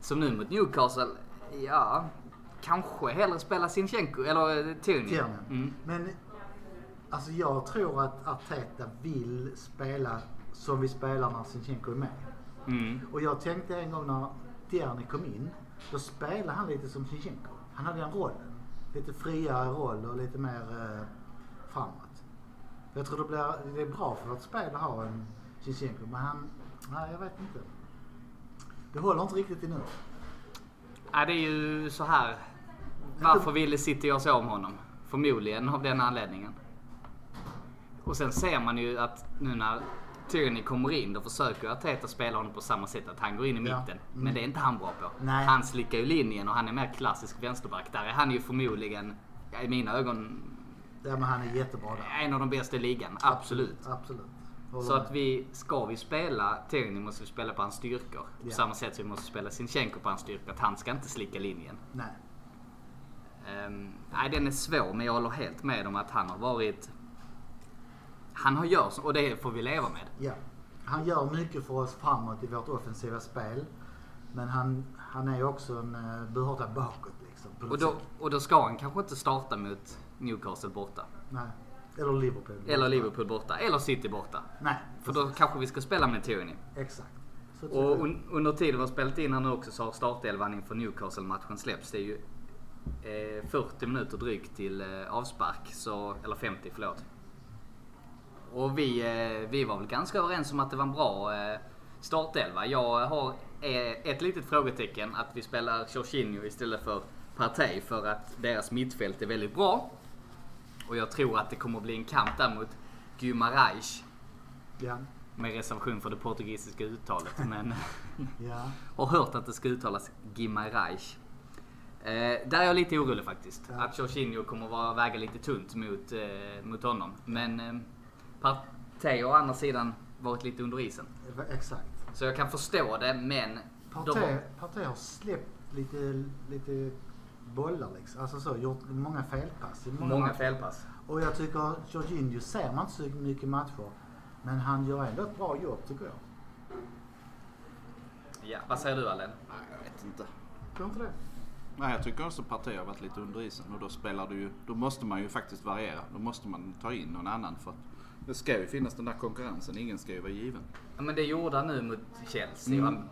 Speaker 3: Som nu mot Newcastle. Ja, kanske hellre spela Sinchenko eller eh, Tierney.
Speaker 4: Tiernan.
Speaker 3: Mm.
Speaker 4: Men alltså jag tror att Arteta vill spela som vi spelar när Sinchenko är med.
Speaker 3: Mm.
Speaker 4: Och jag tänkte en gång när Tierney kom in, då spelade han lite som Sinchenko. Han hade den rollen. Lite friare roll och lite mer eh, framåt. Jag tror det, blir, det är bra för vårt spel att ha en Sinchenko, men han... Nej, jag vet inte. Det håller inte riktigt i nu.
Speaker 3: Ja, det är ju så här. Varför ville City göra sig om honom? Förmodligen av den anledningen. Och sen ser man ju att nu när Tierney kommer in, då försöker Arteta spela honom på samma sätt. Att han går in i
Speaker 4: Ja.
Speaker 3: mitten.
Speaker 4: Mm.
Speaker 3: Men det är inte han bra på.
Speaker 4: Nej.
Speaker 3: Han slickar ju linjen och han är mer klassisk vänsterback. Där är han ju förmodligen, ja, i mina ögon,
Speaker 4: Ja, men han är jättebra där.
Speaker 3: en av de bästa i ligan. Absolut.
Speaker 4: Absolut. Håller
Speaker 3: Så
Speaker 4: med.
Speaker 3: att vi, ska vi spela Tierney måste vi spela på hans styrkor. På
Speaker 4: Ja.
Speaker 3: samma sätt som vi måste spela Sinchenko på hans styrkor. Att han ska inte slicka linjen.
Speaker 4: Nej.
Speaker 3: Ehm, nej, den är svår, men jag håller helt med om att han har varit... Han har gjort, och det får vi leva med.
Speaker 4: Ja. Han gör mycket för oss framåt i vårt offensiva spel. Men han, han är ju också en eh, börda bakåt liksom. På
Speaker 3: Och
Speaker 4: något
Speaker 3: då,
Speaker 4: sätt.
Speaker 3: och då ska han kanske inte starta mot Newcastle borta.
Speaker 4: Nej. Eller Liverpool.
Speaker 3: Eller Liverpool borta. Eller City borta.
Speaker 4: Nej.
Speaker 3: För då kanske vi ska spela med Tierney.
Speaker 4: Exakt. Så tycker
Speaker 3: Och
Speaker 4: jag.
Speaker 3: un, under tiden vi har spelat in här nu också så har startelvan inför Newcastle-matchen släppts. Det är ju eh, 40 minuter drygt till eh, avspark. Så, eller 50, förlåt. Och vi, eh, vi var väl ganska överens om att det var en bra eh, startelva. Jag har eh, ett litet frågetecken att vi spelar Jorginho istället för Partey för att deras mittfält är väldigt bra. Och jag tror att det kommer bli en kamp där mot Gumarais
Speaker 4: Ja.
Speaker 3: med reservation för det portugisiska uttalet. Men
Speaker 4: Ja.
Speaker 3: har hört att det ska uttalas Gimarais. Eh, där är jag lite orolig faktiskt.
Speaker 4: Ja.
Speaker 3: Att Jorginho kommer vara, väga lite tunt mot, eh, mot honom. Men eh, Partey har å andra sidan varit lite under isen.
Speaker 4: det var- Exakt.
Speaker 3: Så jag kan förstå det, men... de
Speaker 4: Partey,
Speaker 3: har-
Speaker 4: Partey har släppt lite, lite bollar liksom. Alltså så, gjort många felpass. i
Speaker 3: många
Speaker 4: matcher.
Speaker 3: felpass.
Speaker 4: Och jag tycker Jorginho ser man inte så mycket matcher. Men han gör ändå ett bra jobb tycker jag.
Speaker 3: Ja, vad säger du Allen?
Speaker 5: Nej, jag vet inte.
Speaker 4: Tror inte det?
Speaker 5: Nej, jag tycker också Partey har varit lite under isen och då spelar du ju, då måste man ju faktiskt variera. Då måste man ta in någon annan för att det ska ju finnas den där konkurrensen, ingen ska ju vara given.
Speaker 3: Ja, men det gjorde han nu mot Chelsea.
Speaker 5: Mm.
Speaker 3: Han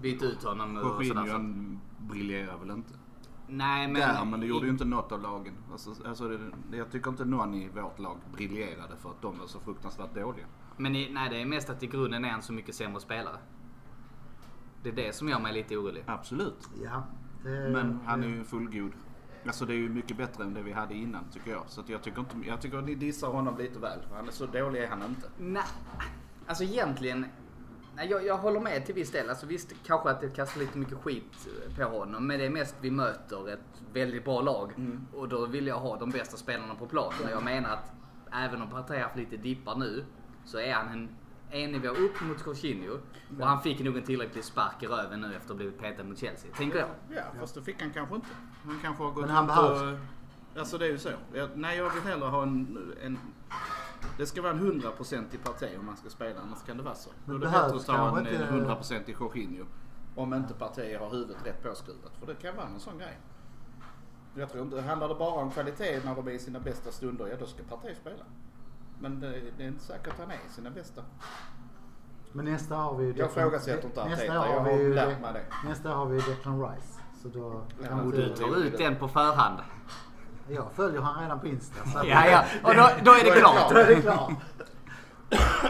Speaker 3: bytte ut honom och sådär. Så.
Speaker 5: Jorginho Alltså, briljerar väl inte?
Speaker 3: Nej, men...
Speaker 5: Där, men det gjorde ju inte något av lagen. Alltså, alltså det, det- jag tycker inte någon i vårt lag briljerade för att de var så fruktansvärt dåliga.
Speaker 3: Men i, nej, det är mest att i grunden är han så mycket sämre spelare. Det är det som gör mig lite orolig.
Speaker 5: Absolut.
Speaker 4: Ja. det-
Speaker 5: Men han är ju fullgod. Alltså det är ju mycket bättre än det vi hade innan tycker jag. Så att jag, tycker inte, jag tycker ni dissar honom lite väl. för Han är så dålig är han inte.
Speaker 3: Nej, alltså egentligen. Nej, jag, jag håller med till viss del. Alltså visst, kanske att det kastar lite mycket skit eh, på honom. Men det är mest vi möter ett väldigt bra lag. Och då vill jag ha de bästa spelarna på planen. Och jag menar att även om Partey har haft lite dippar nu. Så är han en, en nivå upp mot Jorginho. Och han fick nog en tillräcklig spark i röven nu efter att ha blivit petad mot Chelsea. Tänker jag.
Speaker 5: Ja, fast det fick han kanske inte. Han kanske har gått
Speaker 4: Men han
Speaker 5: ut
Speaker 4: behövs.
Speaker 5: och- Alltså det är ju så. Jag, nej, jag vill hellre ha en... en det ska vara en 100% i Partey om man ska spela, annars kan det vara så.
Speaker 4: Men
Speaker 5: Då är det
Speaker 4: behövs
Speaker 5: bättre att ta en
Speaker 4: kanske inte-
Speaker 5: 100% i Jorginho. Om inte Partey har huvudet rätt påskruvat, för det kan vara en sån grej. Jag tror inte, handlar det bara om kvalitet när de är i sina bästa stunder, ja då ska Partey spela. Men det, det är inte säkert att han är i sina bästa.
Speaker 4: Men nästa har vi ju...
Speaker 5: Jag
Speaker 4: Declan-
Speaker 5: ifrågasätter inte
Speaker 4: nästa
Speaker 5: Arteta,
Speaker 4: har
Speaker 5: jag
Speaker 4: vi
Speaker 5: har
Speaker 4: ju-
Speaker 5: lärt mig det.
Speaker 4: Nästa har vi Declan Rice. Så då kan
Speaker 5: Ja,
Speaker 4: inte-
Speaker 5: och du tar-
Speaker 3: Tar ut den på förhand.
Speaker 4: Jag följer han redan på Insta. Så att-
Speaker 3: Ja, ja. Och då, då är det klart.
Speaker 4: Då är det klart.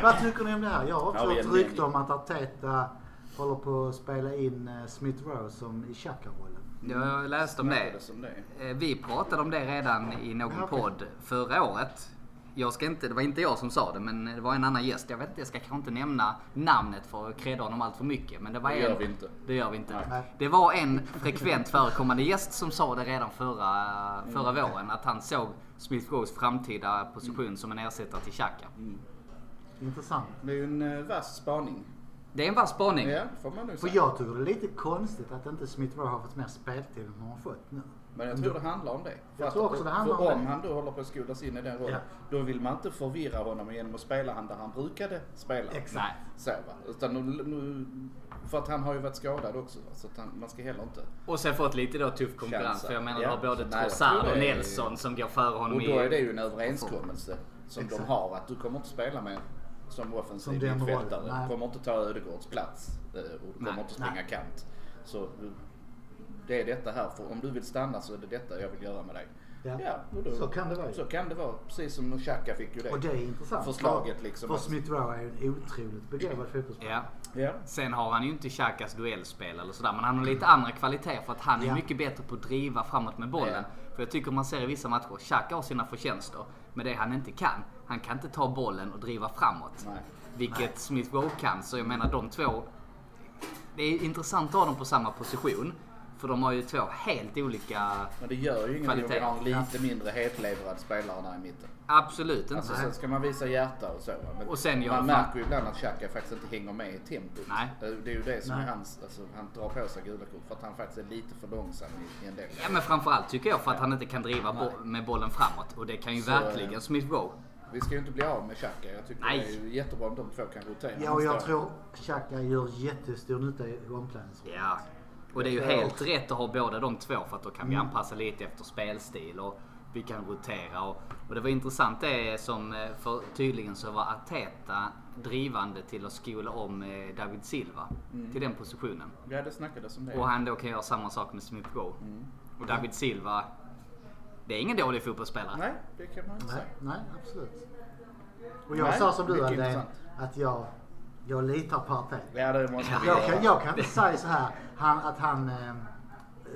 Speaker 4: Vad tycker ni om det här? Jag har också
Speaker 5: Ja, vi är
Speaker 4: hört rykte
Speaker 5: eniga.
Speaker 4: om att Arteta håller på att spela in eh, Smith Rowe som i Xhaka-rollen.
Speaker 3: Jag läste om det.
Speaker 5: Snackades om det.
Speaker 3: Eh, Vi pratade om det redan i någon
Speaker 4: Ja, okej.
Speaker 3: podd förra året. Jag ska inte, det var inte jag som sa det, men det var en annan gäst. Jag vet inte, jag ska kanske inte nämna namnet för att credda honom allt för mycket. Men det var
Speaker 5: Det
Speaker 3: en,
Speaker 5: gör vi inte.
Speaker 3: Det gör vi inte.
Speaker 4: Nej.
Speaker 3: Det var en frekvent förekommande gäst som sa det redan förra, förra
Speaker 4: Mm.
Speaker 3: våren. Att han såg Smith Rows framtida position som
Speaker 4: Mm.
Speaker 3: en ersättare till Xhaka.
Speaker 4: Intressant.
Speaker 5: Det är ju en eh, vass spaning.
Speaker 3: Det är en vass spaning.
Speaker 5: Ja, får man nu
Speaker 4: För
Speaker 5: säga.
Speaker 4: jag tycker det är lite konstigt att inte Smith Rowe har fått mer speltid än vad han har fått nu.
Speaker 5: Men jag tror det handlar om det. För att-
Speaker 4: tror också det handlar
Speaker 5: för
Speaker 4: om
Speaker 5: om
Speaker 4: det.
Speaker 5: han då håller på att skolas in i den rollen,
Speaker 4: Ja.
Speaker 5: då vill man inte förvirra honom genom att spela han där han brukade spela.
Speaker 4: Exakt.
Speaker 3: Nej.
Speaker 5: Så, va? Utan nu, nu, för att han har ju varit skadad också. Va? Så att han, man ska heller inte...
Speaker 3: Och sen fått lite då tuff konkurrens.
Speaker 5: Chansen.
Speaker 3: För jag menar,
Speaker 5: Ja.
Speaker 3: du har både
Speaker 5: Nej, jag
Speaker 3: Trossard
Speaker 5: tror
Speaker 3: och
Speaker 5: det är-
Speaker 3: Nelson som går före honom
Speaker 5: Och då är
Speaker 3: i-
Speaker 5: det ju en överenskommelse som
Speaker 4: Exakt.
Speaker 5: de har att du kommer inte spela med som
Speaker 4: Som
Speaker 5: offensiv
Speaker 4: den
Speaker 5: mittfältare.
Speaker 4: rollen, nej.
Speaker 5: Du kommer inte ta Ödegårds plats eh, och du kommer
Speaker 3: Nej,
Speaker 5: inte springa
Speaker 4: nej.
Speaker 5: kant. Så du- det är detta här. För om du vill stanna så är det detta jag vill göra med dig.
Speaker 4: Ja.
Speaker 5: och då,
Speaker 4: Så kan det vara ju.
Speaker 5: Så kan det vara. Precis som Xhaka fick ju det.
Speaker 4: Och det är intressant.
Speaker 5: Förslaget
Speaker 4: För-
Speaker 5: liksom
Speaker 4: För
Speaker 5: att-
Speaker 4: Smith Rowe är ju en otroligt begåvad fotbollsspelare.
Speaker 3: Ja.
Speaker 5: Ja.
Speaker 3: Sen har han ju inte Xhakas duellspel eller sådär, men han har
Speaker 5: Mm.
Speaker 3: lite andra kvaliteter för att han är
Speaker 4: Ja.
Speaker 3: mycket bättre på att driva framåt med bollen. För jag tycker man ser i vissa matcher, Xhaka har sina förtjänster, men det han inte kan, han kan inte ta bollen och driva framåt.
Speaker 5: Nej.
Speaker 3: Vilket Smith Rowe kan, så jag menar de två, det är intressant att ha dem på samma position. För de har ju två helt olika,
Speaker 5: Men det gör ju ingenting om vi
Speaker 3: Kvalitet.
Speaker 5: har en lite mindre hetlevrad spelare där i mitten. Alltså,
Speaker 3: absolut inte.
Speaker 5: Så sen ska man visa hjärta och så. va? Men
Speaker 3: Och sen gör
Speaker 5: man
Speaker 3: han-
Speaker 5: märker ju ibland att Xhaka faktiskt inte hänger med i tempot. Eh,
Speaker 3: Nej.
Speaker 5: Det är ju det som
Speaker 4: Nej.
Speaker 5: är hans, alltså, han drar på sig gula kort för att han faktiskt är lite för långsam i, i en del.
Speaker 3: Ja men framförallt tycker jag för att han inte kan driva bo- med bollen framåt och det kan ju
Speaker 5: Så,
Speaker 3: verkligen
Speaker 5: eh,
Speaker 3: Smith Rowe.
Speaker 5: Vi ska ju inte bli av med Xhaka. Jag tycker
Speaker 3: Nej.
Speaker 5: det är ju jättebra om de två kan rotera.
Speaker 4: Ja, och jag
Speaker 5: Han står-
Speaker 4: tror Xhaka gör jättestor nytta i omklädningsrummet.
Speaker 3: Ja. Och det är ju
Speaker 4: Ja.
Speaker 3: helt rätt att ha båda de två för att då kan vi
Speaker 5: Mm.
Speaker 3: anpassa lite efter spelstil och vi kan rotera. Och, och det var intressant det som, eh, för tydligen så var Ateta drivande till att skola om eh, David Silva till den positionen.
Speaker 5: Mm. Ja, Mm. det snackades om det.
Speaker 3: Och han då kan göra samma sak med Smith Rowe. Och David Silva, det är ingen dålig fotbollsspelare.
Speaker 5: Nej, det kan man inte
Speaker 4: Nej,
Speaker 5: säga.
Speaker 4: nej, absolut. Och jag
Speaker 5: Nej,
Speaker 4: sa som du
Speaker 5: mycket
Speaker 4: Aldén,
Speaker 5: intressant.
Speaker 4: att jag, jag litar på Arteta.
Speaker 5: Ja, det måste vi
Speaker 4: Jag
Speaker 5: göra.
Speaker 4: kan, jag kan inte säga så här han, att han eh,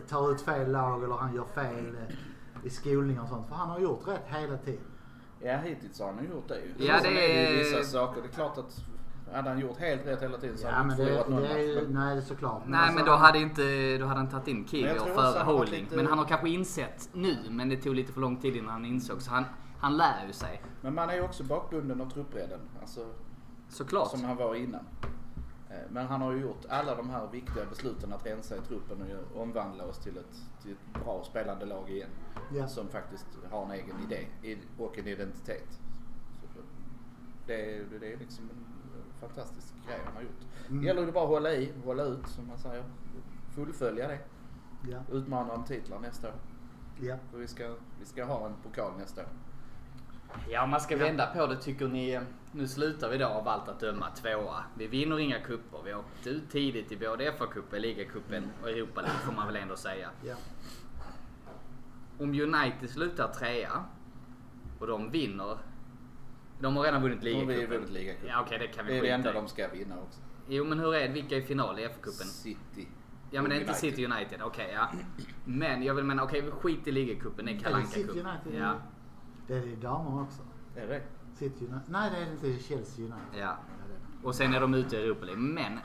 Speaker 4: tar ut fel lag eller han gör fel eh, i skolning och sånt. För han har gjort rätt hela tiden.
Speaker 5: Ja, hittills har han ju gjort det ju.
Speaker 3: Ja,
Speaker 5: Sen
Speaker 3: det
Speaker 5: är
Speaker 3: är-
Speaker 5: ju vissa saker. Det är klart att hade han gjort helt rätt hela tiden så
Speaker 4: Ja,
Speaker 5: hade han
Speaker 4: men
Speaker 5: inte
Speaker 4: det,
Speaker 5: förlorat någon
Speaker 4: det är ju,
Speaker 5: match. Men-
Speaker 4: nej det är såklart. alltså,
Speaker 3: Nej men då hade inte, då hade han tagit in
Speaker 5: Alltså- Men
Speaker 3: Kiwior
Speaker 5: jag tror också
Speaker 3: före
Speaker 5: han har
Speaker 3: Holding.
Speaker 5: lite-
Speaker 3: Men han har kanske insett nu, men det tog lite för lång tid innan han insåg. Så han, han lär ju sig.
Speaker 5: Men man är ju också bakbunden av truppbredden. Alltså,
Speaker 3: Såklart.
Speaker 5: som han var innan. Eh, Men han har ju gjort alla de här viktiga besluten att rensa i truppen och ju- omvandla oss till ett, till ett bra spelande lag igen.
Speaker 4: Ja.
Speaker 5: Som faktiskt har en egen idé i- och en identitet. Så Det, är- det är liksom en fantastisk grej han har gjort.
Speaker 4: Mm.
Speaker 5: Det gäller ju bara att hålla i, hålla ut som man säger. Fullfölja det.
Speaker 4: Ja,
Speaker 5: Utmana om titlar nästa år.
Speaker 4: ja.
Speaker 5: För vi ska, vi ska ha en pokal nästa år.
Speaker 3: Ja, om man ska vända på det tycker ni. Nu slutar vi då av allt att döma tvåa. Vi vinner inga kupper. Vi har åkt ut tidigt i både FA-cupen, ligacupen och Europa League får man väl ändå säga.
Speaker 4: ja.
Speaker 3: Om United slutar trea och de vinner. De har redan vunnit
Speaker 5: vi ju
Speaker 3: ligacupen.
Speaker 5: vunnit ligacupen.
Speaker 3: Ja, okej, det kan vi
Speaker 5: Det är det
Speaker 3: skita
Speaker 5: enda
Speaker 3: i.
Speaker 5: de ska vinna också.
Speaker 3: Jo, men hur är det? Vilka är i final i FA-cupen?
Speaker 5: City.
Speaker 3: Ja men det är inte
Speaker 5: United.
Speaker 3: City United, okej ja. Men jag vill mena, okej vi skit i ligacupen, det är Kalle
Speaker 4: Eller City
Speaker 3: Anka-cupen.
Speaker 4: United.
Speaker 3: Ja,
Speaker 4: Det är det ju damer också.
Speaker 5: Är det
Speaker 4: City United. Nej det är det inte. Det är Chelsea United.
Speaker 3: ja.
Speaker 4: Ja, det är det.
Speaker 3: Och sen är de ute i Europa League. Men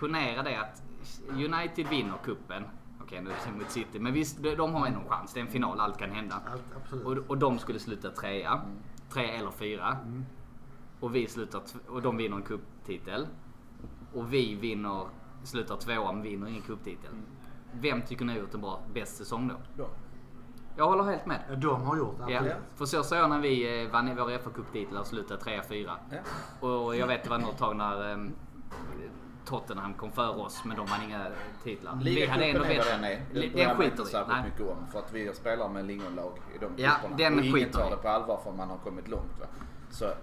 Speaker 3: ponera det att United vinner cupen. Okej nu är det mot City, men visst de- de har ändå en chans. Det är en final, allt kan hända.
Speaker 4: Allt, absolut.
Speaker 3: Och, och de skulle sluta trea. Trea eller fyra. Och vi slutar, tv- och de vinner en cuptitel. Och vi vinner, slutar tvåa men vinner ingen cuptitel. Vem tycker ni har gjort en bra, bäst säsong då?
Speaker 5: då?
Speaker 3: Jag håller helt med.
Speaker 4: Ja, de har gjort det.
Speaker 3: Ja,
Speaker 4: absolut.
Speaker 3: för så sa jag när vi eh, vann våra FA-cuptitlar och slutade 3-4.
Speaker 5: Ja.
Speaker 3: Och jag vet det var något tag när eh, Tottenham kom före oss men de vann inga titlar. Vi hade ändå
Speaker 5: Ligacupen är vad
Speaker 3: bättre.
Speaker 5: den är.
Speaker 3: Li-
Speaker 5: Den bryr
Speaker 3: Den
Speaker 5: jag mig inte
Speaker 3: skiter vi i.
Speaker 5: särskilt
Speaker 3: Nej.
Speaker 5: mycket om. För att vi spelar med lingonlag i de
Speaker 3: Ja,
Speaker 5: grupperna.
Speaker 3: den
Speaker 5: och ingen
Speaker 3: skiter
Speaker 5: tar
Speaker 3: vi.
Speaker 5: det på allvar för man har kommit långt. Va? Så eh,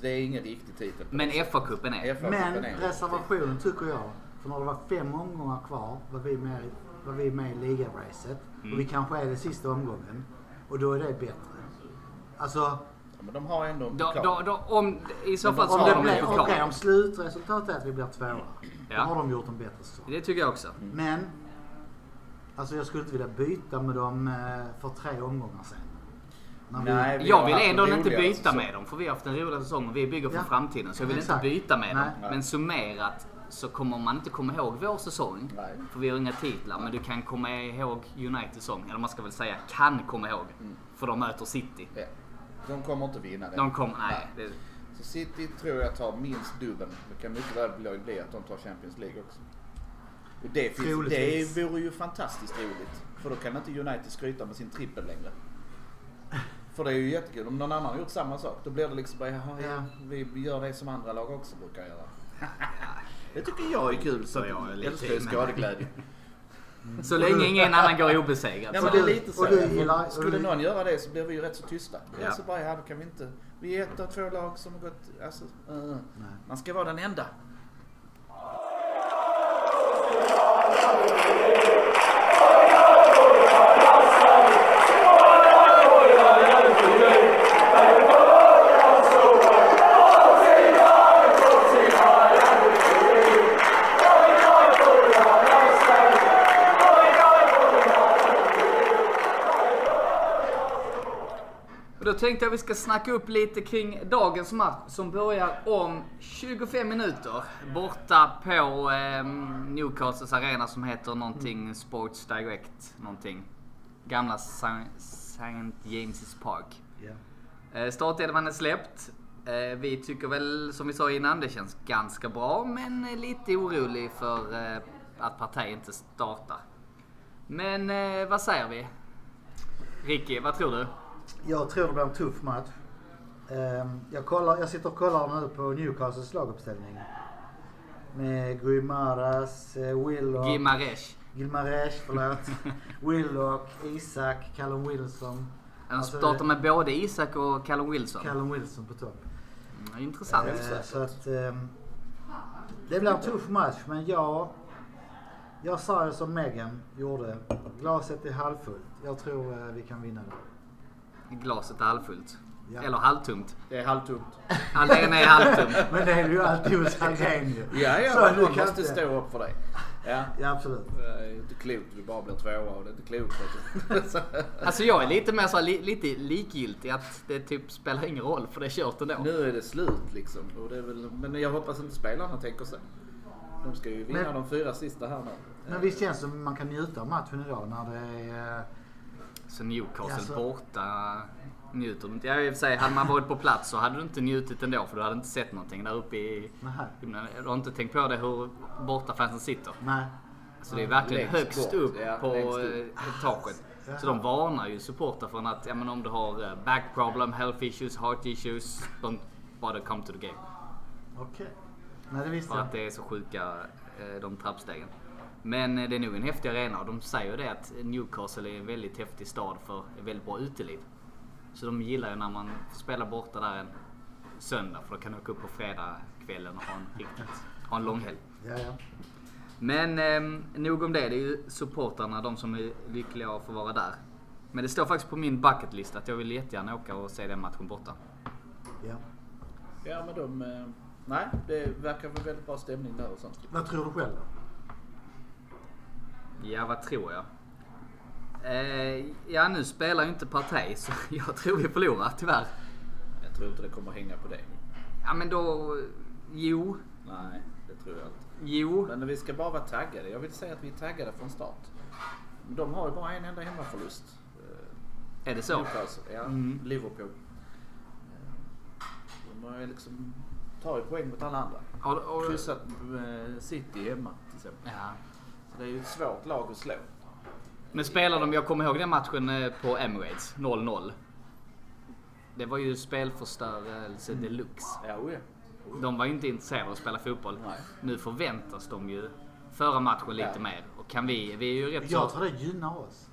Speaker 5: det är ingen riktig titel.
Speaker 3: Men FA-cupen är.
Speaker 5: FA-cupen
Speaker 4: Men
Speaker 5: är en
Speaker 4: reservationen tycker jag, för när det var fem omgångar kvar var vi med, var vi med i ligaracet.
Speaker 3: Mm.
Speaker 4: Och vi kanske är den sista omgången. Och då är det bättre. Alltså,
Speaker 5: titel. Men de har ändå en
Speaker 3: Då,
Speaker 5: pokal.
Speaker 3: då, då, om, I så fall så
Speaker 4: om,
Speaker 3: har
Speaker 4: det
Speaker 3: de en
Speaker 4: blir,
Speaker 3: pokal.
Speaker 4: okej, om slutresultatet är att vi blir tvåa,
Speaker 3: Ja. Mm.
Speaker 4: då har de gjort en bättre säsong.
Speaker 3: Det tycker jag också.
Speaker 4: Men, alltså jag skulle inte vilja byta med dem eh, för tre omgångar sen. När vi-
Speaker 5: Nej, vi
Speaker 3: Jag
Speaker 5: har
Speaker 3: vill
Speaker 5: haft
Speaker 3: ändå
Speaker 5: en
Speaker 3: inte
Speaker 5: roligare
Speaker 3: byta
Speaker 5: säsong.
Speaker 3: med dem för vi har haft en rolig säsong och vi bygger för
Speaker 4: Ja.
Speaker 3: framtiden. Så jag vill
Speaker 4: Exakt.
Speaker 3: inte byta med dem.
Speaker 4: Nej.
Speaker 3: Men summerat så kommer man inte komma ihåg vår säsong.
Speaker 5: Nej.
Speaker 3: För vi har inga titlar. Men du kan komma ihåg Uniteds säsong. Eller man ska väl säga kan komma ihåg.
Speaker 5: Mm.
Speaker 3: För de möter City.
Speaker 5: Ja. De kommer inte vinna det.
Speaker 3: De kommer... Nej. Det,
Speaker 5: Så City tror jag tar minst dubbeln. Det kan mycket väl bli- bli att de tar Champions League också. Och det, finns,
Speaker 4: Troligtvis.
Speaker 5: det vore ju fantastiskt roligt. För då kan inte United skryta med sin trippel längre. För det är ju jättekul. Om någon annan har gjort samma sak då blir det liksom bara "Jaha, ja,
Speaker 4: Ja.
Speaker 5: vi gör det som andra lag också brukar göra. Det tycker jag är kul. Så
Speaker 3: Ja, jag är
Speaker 5: jag
Speaker 3: lite
Speaker 5: älskar ju
Speaker 3: med.
Speaker 5: skadeglädje.
Speaker 3: så länge ingen annan går obesegrad.
Speaker 5: Nej
Speaker 3: så-
Speaker 5: Mm. men det är lite så.
Speaker 4: Och du gillar-
Speaker 5: Skulle
Speaker 4: och du-
Speaker 5: någon göra det så blir vi ju rätt så tysta.
Speaker 3: Ja.
Speaker 5: Ja. Så bara, ja, då kan vi inte. Vi är ett av två lag som har gått... Alltså, eh, eh. Man ska vara den enda.
Speaker 3: Och Då tänkte jag vi ska snacka upp lite kring dagens match som börjar om 25 minuter. Borta på eh, Newcastles arena som heter någonting Sports Direct någonting. Gamla St. James' Park. Eh, Startelvan är släppt. Eh, vi tycker väl som vi sa innan det känns ganska bra men är lite orolig för eh, att Partey inte startar. Men eh, vad säger vi? Ricky, vad tror du?
Speaker 4: Jag tror det blir en tuff match. Ehm, Jag, kollar, jag sitter och kollar nu på Newcastles laguppställning. Med Guimaras, eh, Willock,
Speaker 3: Gimaresh.
Speaker 4: Gilmares, förlåt. Willock, Isak, Callum Wilson.
Speaker 3: Han
Speaker 4: Alltså,
Speaker 3: startar med både Isak och Callum Wilson.
Speaker 4: Callum Wilson på topp.
Speaker 3: Mm, Intressant.
Speaker 4: Eh, Så att, ehm, det blir en tuff match, men jag, jag sa ju som Megan gjorde, glaset är halvfullt. Jag tror eh, vi kan vinna det.
Speaker 3: Glaset är halvfullt.
Speaker 4: Ja.
Speaker 3: Eller halvtomt.
Speaker 5: Det är halvtomt.
Speaker 3: Ja, den är halvtom.
Speaker 4: Men det är ju alltid hos Hallgren ju.
Speaker 5: Ja, ja,
Speaker 4: Så
Speaker 5: men
Speaker 4: du
Speaker 5: någon
Speaker 4: kan
Speaker 5: måste
Speaker 4: inte-
Speaker 5: stå upp för dig. Ja.
Speaker 4: Ja, absolut.
Speaker 5: Det är inte klokt vi bara blir tvåa och det är inte klokt. vet du. Så-
Speaker 3: Alltså jag är lite mer så här, li, lite likgiltig att det typ spelar ingen roll för det är kört ändå.
Speaker 5: nu är det slut liksom. Och det är väl, men jag hoppas inte spelarna tänker så. De ska ju vinna
Speaker 4: Men-
Speaker 5: de fyra sista här nu.
Speaker 4: Men visst känns det som man kan njuta av matchen idag när det är... eh,
Speaker 3: Så Newcastle
Speaker 4: Ja, så-
Speaker 3: borta njuter du inte. Jag i och för sig, hade man varit på plats så hade du inte njutit ändå för du hade inte sett någonting där uppe i...
Speaker 4: Nej.
Speaker 3: Du har inte tänkt på det hur bortafansen sitter.
Speaker 4: Nej.
Speaker 3: Så det är verkligen
Speaker 5: Längst
Speaker 3: högst
Speaker 5: bort,
Speaker 3: upp
Speaker 5: ja,
Speaker 3: på
Speaker 5: längst upp.
Speaker 3: eh, taket. Så de varnar ju supportrar från att ja, men om du har eh, back problem, health issues, heart issues, don't bother come to the game.
Speaker 4: Okej. Nej, det visste
Speaker 3: För
Speaker 4: jag
Speaker 3: att
Speaker 4: inte.
Speaker 3: det är så sjuka eh, de trappstegen. Men eh, det är nog en häftig arena och de säger ju det att Newcastle är en väldigt häftig stad för ett väldigt bra uteliv. Så de gillar ju när man spelar borta där en söndag för då kan du åka upp på fredagskvällen och ha en, riktigt, ha en långhelg.
Speaker 4: Ja, ja.
Speaker 3: Men eh, nog om det. Det är ju supportrarna, de som är lyckliga av att få vara där. Men det står faktiskt på min bucketlist att jag vill jättegärna åka och se den matchen borta.
Speaker 4: ja.
Speaker 5: Ja, men de... eh, Nej, det verkar vara väldigt bra stämning där och sånt.
Speaker 4: Vad tror du själv då?
Speaker 3: Ja, vad tror jag? Eh, ja, nu spelar ju inte Partey, så jag tror vi förlorar tyvärr.
Speaker 5: Jag tror inte det kommer hänga på dig.
Speaker 3: Ja, men då... Jo.
Speaker 5: Nej, det tror jag inte.
Speaker 3: Jo.
Speaker 5: Men vi ska bara vara taggade. Jag vill säga att vi är taggade från start. De har ju bara en enda hemmaförlust. Eh,
Speaker 3: Är det så?
Speaker 5: Newcastle, ja.
Speaker 3: Mm.
Speaker 5: Liverpool. Eh, De har ju liksom, tar ju poäng mot alla andra.
Speaker 3: Har, har,
Speaker 5: Kryssat eh, City hemma till exempel.
Speaker 3: ja.
Speaker 5: Så det är ju ett svårt lag att slå.
Speaker 3: Men spelar de, jag kommer ihåg den matchen eh, på Emirates, 0-0. Det var ju spelförstörelse deluxe.
Speaker 5: Ja, oj.
Speaker 3: De var ju inte intresserade av att spela fotboll.
Speaker 5: Nej.
Speaker 3: Nu förväntas de ju föra matchen lite
Speaker 5: Ja.
Speaker 3: mer. Och kan vi, vi är ju rätt
Speaker 4: Jag
Speaker 3: så...
Speaker 4: tror det gynnar oss.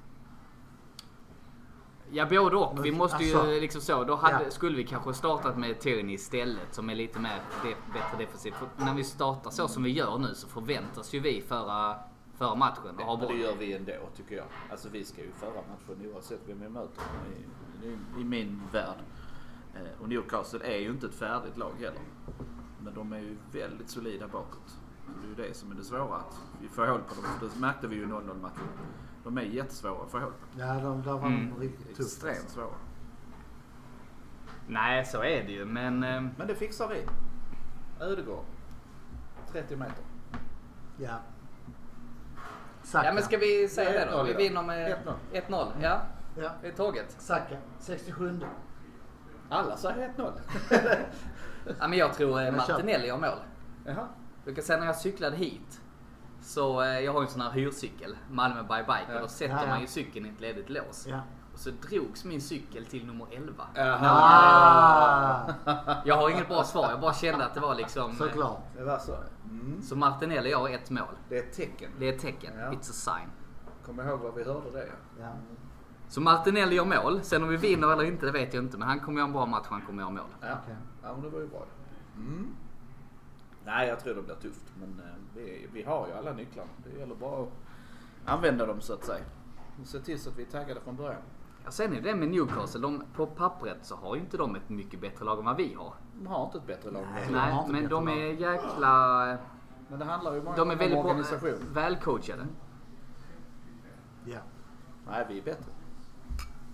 Speaker 3: Ja, både och.
Speaker 4: Men
Speaker 3: Vi måste ju
Speaker 4: alltså-
Speaker 3: liksom så. Då hade,
Speaker 4: Ja.
Speaker 3: skulle vi kanske startat med Tyranny istället som är lite mer de, bättre defensivt. För när vi startar så som vi gör nu så förväntas ju vi föra, föra matchen och ha
Speaker 5: Ja, men det
Speaker 3: boll.
Speaker 5: gör vi ändå tycker jag. Alltså vi ska ju föra matchen oavsett vem vi möter i, i, i min värld. Eh, och Newcastle är ju inte ett färdigt lag heller. Men de är ju väldigt solida bakåt. Så det är ju det som är det svåra. Att vi får hål på dem. Det märkte vi ju i 0-0 matchen. De är jättesvåra att få hål på.
Speaker 3: Mm.
Speaker 4: Ja, de, där var de riktigt tufft.
Speaker 5: Extremt svåra.
Speaker 3: Nej, så är det ju. Men eh,
Speaker 5: Men det fixar vi. Ödegård. 30 meter.
Speaker 4: Ja. Saka.
Speaker 3: ja, men ska vi säga
Speaker 5: Ja,
Speaker 3: det då?
Speaker 5: 1-0
Speaker 3: Vi
Speaker 5: då.
Speaker 3: vinner med
Speaker 5: 1-0.
Speaker 3: 1-0. Ja,
Speaker 4: Ja.
Speaker 3: det är taget.
Speaker 4: Saka. 67.
Speaker 5: Alla säger 1-0.
Speaker 3: Ja, men jag tror eh,
Speaker 4: Men kör.
Speaker 3: Martinelli gör mål.
Speaker 5: Jaha.
Speaker 3: Du kan säga när jag cyklade hit. Så eh, jag har ju en sån här hyrcykel, Malmö by bike.
Speaker 5: Ja.
Speaker 3: Och då sätter
Speaker 4: Ja, ja.
Speaker 3: man ju cykeln i ett ledigt lås.
Speaker 4: Ja.
Speaker 3: Och så drogs min cykel till nummer 11.
Speaker 4: Ah,
Speaker 3: Jag har inget bra svar, jag bara kände att det var liksom...
Speaker 4: såklart.
Speaker 5: Det var så. Mm.
Speaker 3: Så Martinelli gör ett mål.
Speaker 5: Det är ett tecken.
Speaker 3: Det är ett tecken.
Speaker 5: Ja.
Speaker 3: It's a sign.
Speaker 5: Kom ihåg vad vi hörde det.
Speaker 4: Ja.
Speaker 3: Så Martinelli gör mål. Sen om vi vinner eller inte, det vet jag inte. Men han kommer göra en bra match, han kommer göra mål.
Speaker 5: Ja,
Speaker 4: Okej.
Speaker 5: ja men det var ju bra. Mm. Nej, jag tror det blir tufft. Men eh, vi, vi har ju alla nycklarna. Det gäller bara att använda dem så att säga. Och se till så att vi är taggade från början.
Speaker 3: Ja, sen är det med Newcastle. De, på pappret så har ju inte de ett mycket bättre lag än vad vi har.
Speaker 5: De har inte ett bättre lag. än vi.
Speaker 4: har
Speaker 3: Nej,
Speaker 4: inte
Speaker 3: men
Speaker 4: bättre
Speaker 3: de
Speaker 4: lag.
Speaker 3: är jäkla...
Speaker 5: Men det handlar ju många
Speaker 3: De är
Speaker 5: gånger
Speaker 3: väldigt
Speaker 5: om
Speaker 3: bra, eh,
Speaker 5: organisation.
Speaker 3: välcoachade.
Speaker 4: Ja.
Speaker 5: Nej, vi är bättre.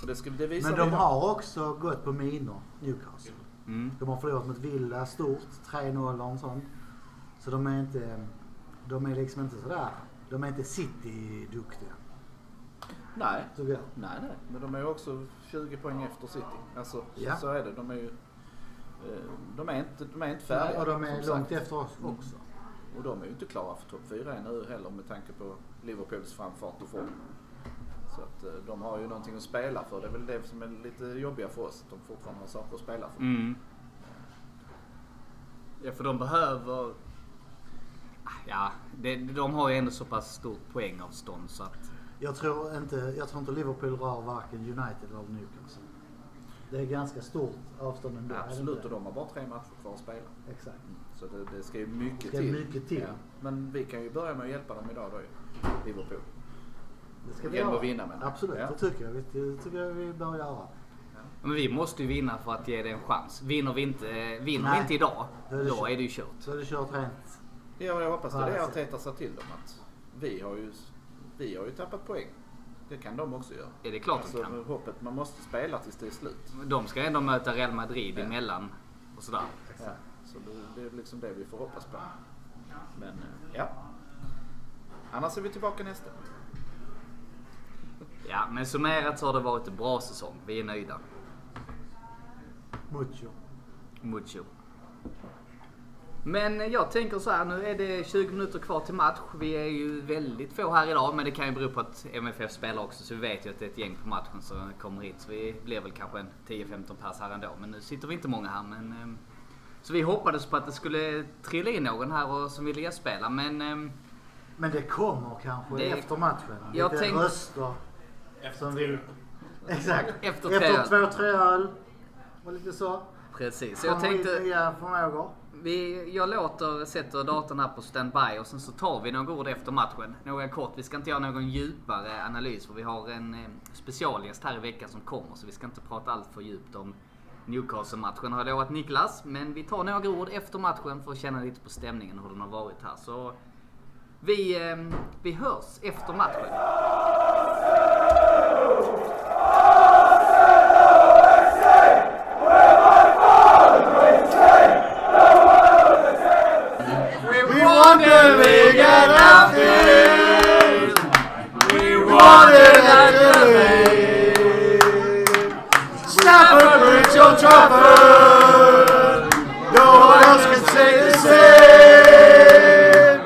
Speaker 5: Och det, ska, det visar
Speaker 4: Men
Speaker 5: vi
Speaker 4: de
Speaker 5: då.
Speaker 4: har också gått på minor, Newcastle.
Speaker 3: Mm.
Speaker 4: De har förlorat mot Villa stort, 3-0 eller en sån. Så de är inte, de är liksom inte sådär, de är inte City-duktiga.
Speaker 5: Nej.
Speaker 4: tycker jag.
Speaker 5: Nej, nej. Men de är ju också 20 poäng efter City. Alltså,
Speaker 4: Ja.
Speaker 5: så är det. De är ju... eh, De är inte, de är inte
Speaker 4: Nej,
Speaker 5: färdiga.
Speaker 4: och de är
Speaker 5: som
Speaker 4: långt
Speaker 5: sagt.
Speaker 4: efter oss också.
Speaker 5: Och de är ju inte klara för topp 4 ännu heller med tanke på Liverpools framfart och form. Så att eh, de har ju någonting att spela för. Det är väl det som är lite jobbiga för oss. Att de fortfarande har saker att spela för.
Speaker 3: Ja, för de behöver... Ja, det, de har ju ändå så pass stort poängavstånd så att...
Speaker 4: Jag tror inte, jag tror inte Liverpool rör varken United eller Newcastle. Det är ganska stort avstånd ändå. är det
Speaker 5: Absolut,
Speaker 4: inte?
Speaker 5: och de har bara tre matcher kvar att spela.
Speaker 4: Exakt.
Speaker 5: Så det, det ska ju mycket
Speaker 4: Det är
Speaker 5: till.
Speaker 4: mycket till.
Speaker 5: Men vi kan ju börja med att hjälpa dem idag då ju. Liverpool.
Speaker 4: Det ska vi
Speaker 5: Genom
Speaker 4: göra.
Speaker 5: att vinna, menar jag.
Speaker 4: Absolut,
Speaker 5: Ja.
Speaker 4: det tycker jag. Det tycker jag vi bör göra.
Speaker 3: Men vi måste ju vinna för att ge det en chans. Vinner vi inte, eh, vinner vi
Speaker 4: Nej.
Speaker 3: inte idag,
Speaker 4: Då är det
Speaker 3: då
Speaker 4: kört.
Speaker 3: är det ju kört.
Speaker 4: Så är det kört rent.
Speaker 5: Ja, jag hoppas det. Det är
Speaker 4: Ja,
Speaker 5: Arteta sa till dem att vi har, ju, vi har ju tappat poäng. Det kan de också göra.
Speaker 3: Är det klart de
Speaker 5: Alltså,
Speaker 3: kan?
Speaker 5: hoppet, man måste spela tills det är slut.
Speaker 4: Alltså-
Speaker 3: De ska ändå möta Real Madrid emellan och sådär.
Speaker 5: Ja, så det, det är liksom det vi får hoppas på. Men eh, ja. Annars är vi tillbaka nästa.
Speaker 3: Ja, men summerat så har det varit en bra säsong. Vi är nöjda.
Speaker 4: Mucho.
Speaker 3: Mucho. Men jag tänker så här, nu är det 20 minuter kvar till match. Vi är ju väldigt få här idag, men det kan ju bero på att MFF spelar också, så vi vet ju att det är ett gäng på matchen som kommer hit. Så vi blir väl kanske en 10-15 pers här ändå, men nu sitter vi inte många här. Men, ehm, så vi hoppades på att det skulle trilla in någon här och, som ville gästspela, men ehm,
Speaker 4: Men det kommer kanske
Speaker 3: Det-
Speaker 4: efter matchen.
Speaker 3: Jag
Speaker 4: Lite
Speaker 3: tänk-
Speaker 4: röster. Som vi... Exakt.
Speaker 3: Efter
Speaker 4: efter
Speaker 3: tre
Speaker 4: två, tre öl. Och lite så.
Speaker 3: precis. Så jag
Speaker 4: Kommer in
Speaker 3: tänkte...
Speaker 4: Nya förmågor.
Speaker 3: Vi, jag låter, sätter datorn här på standby och sen så tar vi några ord efter matchen. Några kort. Vi ska inte göra någon djupare analys för vi har en eh, specialgäst här i veckan som kommer så vi ska inte prata allt för djupt om Newcastle-matchen har jag lovat Niklas. Men vi tar några ord efter matchen för att känna lite på stämningen och hur den har varit här. Så vi, eh, vi hörs efter matchen.
Speaker 4: We won the league and nothing. We won it at the league. Stafford Bridge or Trafford. No one else can say the same.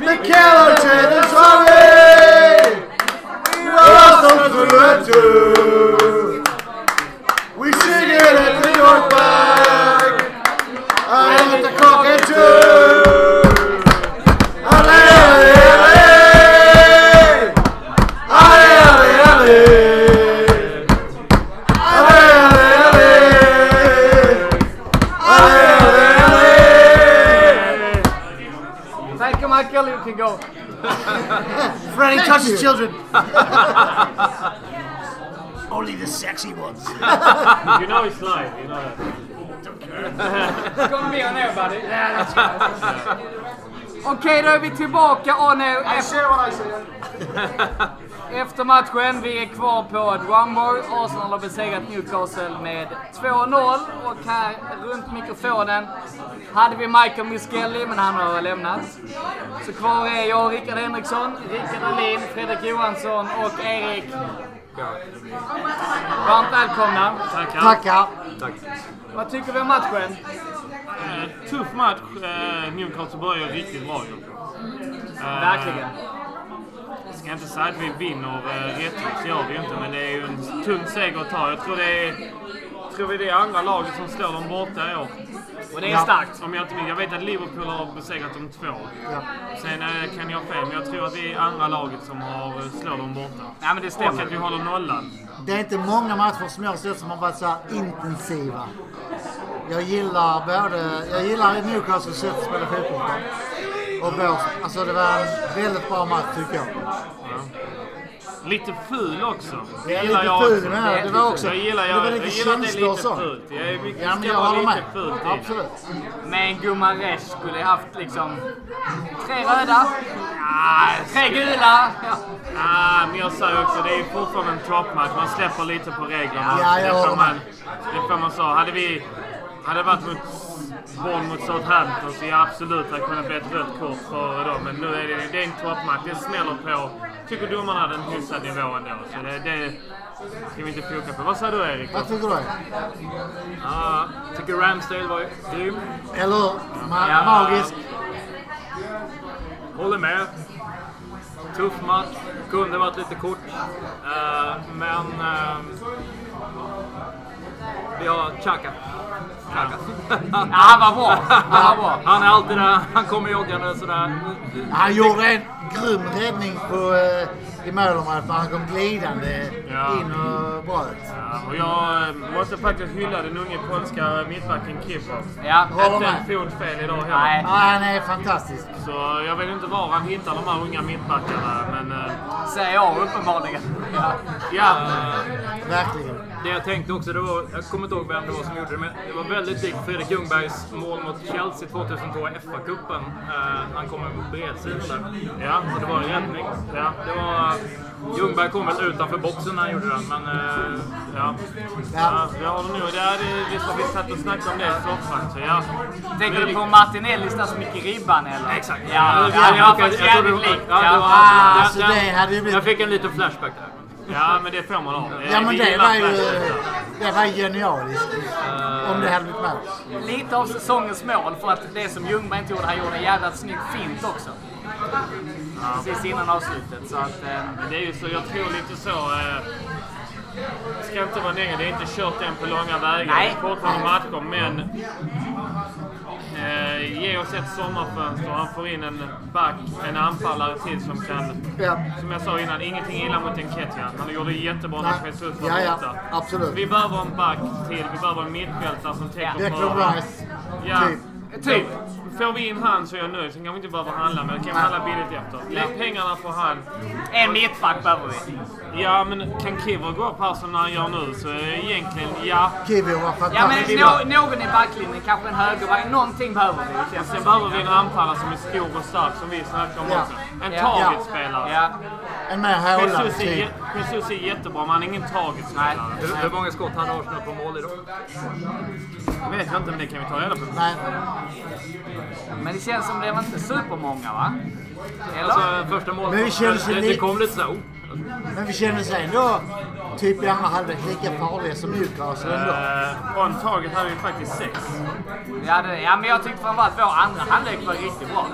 Speaker 4: Mikel Arteta, sorry. We lost on through and through. We sing it at the North Bank. I let the cock and two. Alley, alley, alley. Alley, alley, alley. Alley, alley, alley. Alley, alley, alley.
Speaker 3: Thank you Michael, you can go. Freddy touches children.
Speaker 7: Only the sexy ones.
Speaker 8: You know it's live, you know that.
Speaker 3: It's gonna be on there buddy. Okej, då är vi tillbaka. Åh nej,
Speaker 5: I
Speaker 3: efter-
Speaker 5: say what I say.
Speaker 3: efter matchen. Vi är kvar på Drumborg. Arsenal har besegrat Newcastle med 2-0 och här runt mikrofonen hade vi Michael Muskelli, men han har lämnat. Så kvar är jag, Rickard Henriksson, Rickard Olin, Fredrik Johansson och Erik. Varmt välkomna.
Speaker 8: Tackar.
Speaker 5: Tackar.
Speaker 3: Vad tycker vi om matchen?
Speaker 8: Eh, tuff match. Eh, Newcastle börjar riktigt bra ju. Eh,
Speaker 3: Verkligen.
Speaker 8: Jag ska inte säga att vi vinner eh, rättvist, gör vi ju inte, men det är ju en tung seger att ta. Jag tror det är, tror vi det är andra laget som slår dem borta i år.
Speaker 3: Och det är starkt.
Speaker 8: Om jag inte minns. Jag vet att Liverpool har besegrat dem två. Sen eh, kan jag ha fel, men jag tror att det är andra laget som har eh, slår dem borta.
Speaker 3: Nej, men det
Speaker 8: Och att vi
Speaker 3: stämmer.
Speaker 8: håller nollan.
Speaker 4: Det är inte många matcher som jag har sett som har varit så här intensiva. Jag gillar både, jag gillar Newcastles sätt att spela fotboll på. Och vår, alltså det var en väldigt bra match tycker jag.
Speaker 8: Lite ful också. Det
Speaker 4: Ja,
Speaker 8: gillar
Speaker 4: lite
Speaker 8: jag
Speaker 4: ful,
Speaker 8: också.
Speaker 4: men det var också-
Speaker 8: Jag gillar,
Speaker 4: det
Speaker 8: jag,
Speaker 4: var lite
Speaker 8: jag gillar att det är
Speaker 4: känslor och
Speaker 8: lite
Speaker 4: så.
Speaker 8: fult. Jag, vi
Speaker 4: Ja,
Speaker 8: ska
Speaker 4: men jag
Speaker 8: vara
Speaker 4: håller
Speaker 8: lite
Speaker 4: med.
Speaker 8: fult i det.
Speaker 4: Absolut.
Speaker 3: Men Gumaresh skulle haft liksom tre röda,
Speaker 8: Ah,
Speaker 3: tre gula. Ja.
Speaker 8: ah, men jag säger också, det är fortfarande en toppmatch. Man släpper lite på reglerna.
Speaker 4: Ja, jag
Speaker 8: det,
Speaker 4: håller
Speaker 8: får
Speaker 4: med.
Speaker 8: man, det får man så. Hade vi hade det varit mot Bonn mot Southampton så jag absolut hade kunnat bli ett rött kort för dem. Men nu är det, det är en toppmatch. Det smäller på. Tycker domarna hade en hyfsad nivå ändå. Så det, det ska vi inte foka på. Vad säger du Erik?
Speaker 4: Vad tycker du?
Speaker 8: Ja, tycker Ramsdale var grym.
Speaker 4: Eller hur? Ma-
Speaker 8: Ja.
Speaker 4: Magisk.
Speaker 8: Håller med. Tuff match. Kunde varit lite kort. Eh, men eh, vi har Chaka. Chaka.
Speaker 3: Ja, han var bra. Han var bra.
Speaker 8: Han är alltid där. Han kommer joggande sådär.
Speaker 4: Han gjorde en grym räddning på, eh, i målområdet när han kom glidande
Speaker 8: Ja.
Speaker 4: in och bröt.
Speaker 8: Ja, och jag eh, måste faktiskt hylla den unge polska mittbacken Kipov.
Speaker 3: Ja.
Speaker 4: Håller
Speaker 8: Inte en
Speaker 4: med.
Speaker 8: fot fel idag heller.
Speaker 3: Nej.
Speaker 4: Ja, han är fantastisk.
Speaker 8: Så jag vet inte var han hittar de här unga mittbackarna. Men eh,
Speaker 3: Säger jag uppenbarligen. Ja.
Speaker 8: ja,
Speaker 4: Verkligen.
Speaker 9: Det jag tänkte också, det var, jag kommer inte ihåg vem det var som gjorde det, men det var väldigt likt Fredrik Ljungbergs mål mot Chelsea 2002 i FA-cupen. Eh, han kom över bredsidan där.
Speaker 8: ja,
Speaker 9: Så det var en räddning.
Speaker 8: ja.
Speaker 9: Det var, Ljungberg kom väl utanför boxen när han gjorde den, men... Eh,
Speaker 8: Ja, ja. jag håller nog. Det är, vi, vi satt och snackade om det i soffan. Så ja.
Speaker 3: Tänker du
Speaker 8: Väldigt-
Speaker 3: på Martinellis där som gick i ribban eller?
Speaker 9: Exakt.
Speaker 3: Ja,
Speaker 9: Ja,
Speaker 3: det hade
Speaker 9: jag- jag
Speaker 3: varit
Speaker 9: tror det
Speaker 3: jävligt
Speaker 9: var-
Speaker 3: likt.
Speaker 9: ja, det var-
Speaker 3: Ja.
Speaker 9: Ja,
Speaker 4: Alltså
Speaker 9: ja.
Speaker 4: det hade ju
Speaker 9: jag
Speaker 4: blivit...
Speaker 9: fick en liten flashback där.
Speaker 8: Ja, men det får man ha.
Speaker 4: Ja men
Speaker 8: Vi
Speaker 4: det
Speaker 8: gillar
Speaker 4: var ju...
Speaker 8: flashbacks.
Speaker 4: Det var genialiskt.
Speaker 8: Eh.
Speaker 4: Om det hade blivit mål.
Speaker 3: Lite av säsongens mål för att det som Ljungberg inte gjorde, han gjorde en jävla snygg fint också. Precis innan avslutet. Så att, eh,
Speaker 8: Men Det är ju så, jag tror lite så. Eh, det ska inte vara negativt, det är inte kört än på långa vägar.
Speaker 3: Nej.
Speaker 8: Det är fortfarande matcher, men eh, ge oss ett sommarfönster. Han får in en back, en anfallare till som kan...
Speaker 4: Ja.
Speaker 8: Som jag sa innan, ingenting illa mot Enketia. Han gjorde jättebra när
Speaker 4: Nej.
Speaker 8: Jesus var
Speaker 4: Ja, ja.
Speaker 8: borta.
Speaker 4: Absolut.
Speaker 8: Vi behöver en back till, vi behöver en mittfältare som täcker
Speaker 4: Declan
Speaker 8: för-
Speaker 4: Rice.
Speaker 8: Ja.
Speaker 4: Typ.
Speaker 8: Typ. Får vi in han så är jag nöjd. Sen kan vi inte behöva handla, men kan vi handla billigt efter. Lägg pengarna på han.
Speaker 3: en mittback behöver vi.
Speaker 8: Ja, men kan Kiver gå upp här som han gör nu så eh, egentligen, ja.
Speaker 4: Kiwi var
Speaker 3: Ja,
Speaker 4: fantastisk.
Speaker 3: men nå- någon i backlinjen, kanske en högerback. Någonting behöver vi. känns
Speaker 8: Sen
Speaker 3: det.
Speaker 8: behöver vi en anfallare som är stor och stark som vi snackade om
Speaker 4: Ja.
Speaker 8: också. En
Speaker 3: Ja.
Speaker 8: targetspelare.
Speaker 3: Ja.
Speaker 4: En mer hålad
Speaker 8: Jesus, är,
Speaker 4: typ.
Speaker 8: jä- Jesus är jättebra, men han är ingen targetspelare.
Speaker 3: Nej.
Speaker 9: Hur, hur många skott hade Arsenal på mål idag?
Speaker 8: Det vet jag inte, men det kan vi ta reda på.
Speaker 4: Nej.
Speaker 3: Men det känns som det var inte supermånga va? Eller?
Speaker 9: Alltså första målet...
Speaker 4: Men det kändes ju
Speaker 9: det, det
Speaker 4: lite-
Speaker 9: kom lite såhär... Oh.
Speaker 4: Men vi kände oss ändå typ i andra halvlek lika farliga som Newcastle ändå.
Speaker 8: Uh, on target hade vi faktiskt sex.
Speaker 3: Ja, det, ja, men jag tyckte framförallt vår andra halvlek var riktigt bra.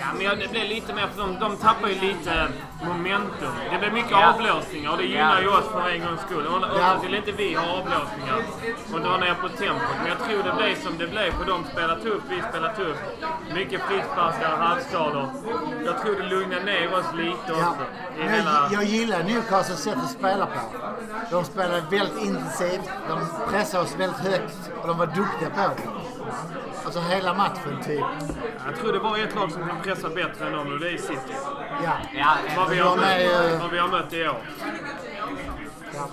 Speaker 8: Ja, men jag- det blev lite mer för de, de tappar ju lite momentum. Det blev mycket
Speaker 3: Ja.
Speaker 8: avblåsningar och det gynnar ju oss för en gångs skull. Och Oftast vill inte vi ha avblåsningar och dra ner på tempot. Men jag tror det blev som det blev för de spelar tufft, vi spelar tufft. Mycket frisparkar, halvskador. Jag tror det lugnade ner oss lite
Speaker 4: Ja.
Speaker 8: också. I
Speaker 4: Men
Speaker 8: hela...
Speaker 4: jag, jag gillar Newcastles sätt att spela på. De spelade väldigt intensivt, de pressade oss väldigt högt och de var duktiga på det. Alltså hela matchen typ.
Speaker 8: jag tror det var ett lag som kan pressa bättre än dem och det är City.
Speaker 4: Ja.
Speaker 3: Ja,
Speaker 8: Vad vi har
Speaker 4: De är ju-
Speaker 8: mött, vad vi har mött i år.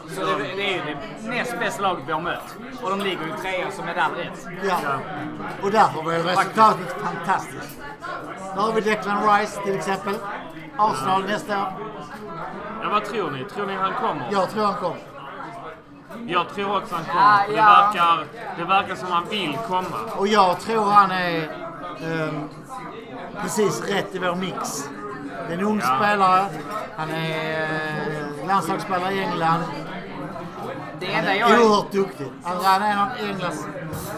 Speaker 3: Så det, det är ju det näst bästa laget vi har mött. Och de ligger ju trea som är där rätt.
Speaker 10: Ja. Och därför var ju resultatet fantastiskt. Då har vi Declan Rice till exempel. Arsenal nästa år.
Speaker 8: Ja, vad tror ni? Tror ni han kommer?
Speaker 10: Jag tror han kommer.
Speaker 8: Jag tror också han
Speaker 10: Ja,
Speaker 8: kommer. för
Speaker 10: ja.
Speaker 8: Det, verkar, det verkar som han vill komma.
Speaker 10: Och jag tror han är ehm, precis rätt i vår mix. Det är en ung
Speaker 8: Ja.
Speaker 10: spelare. Han är eh, landslagsspelare i England.
Speaker 3: Det
Speaker 10: Han
Speaker 3: enda
Speaker 10: är
Speaker 3: jag är,
Speaker 10: oerhört duktig. Alltså, han är en av Englands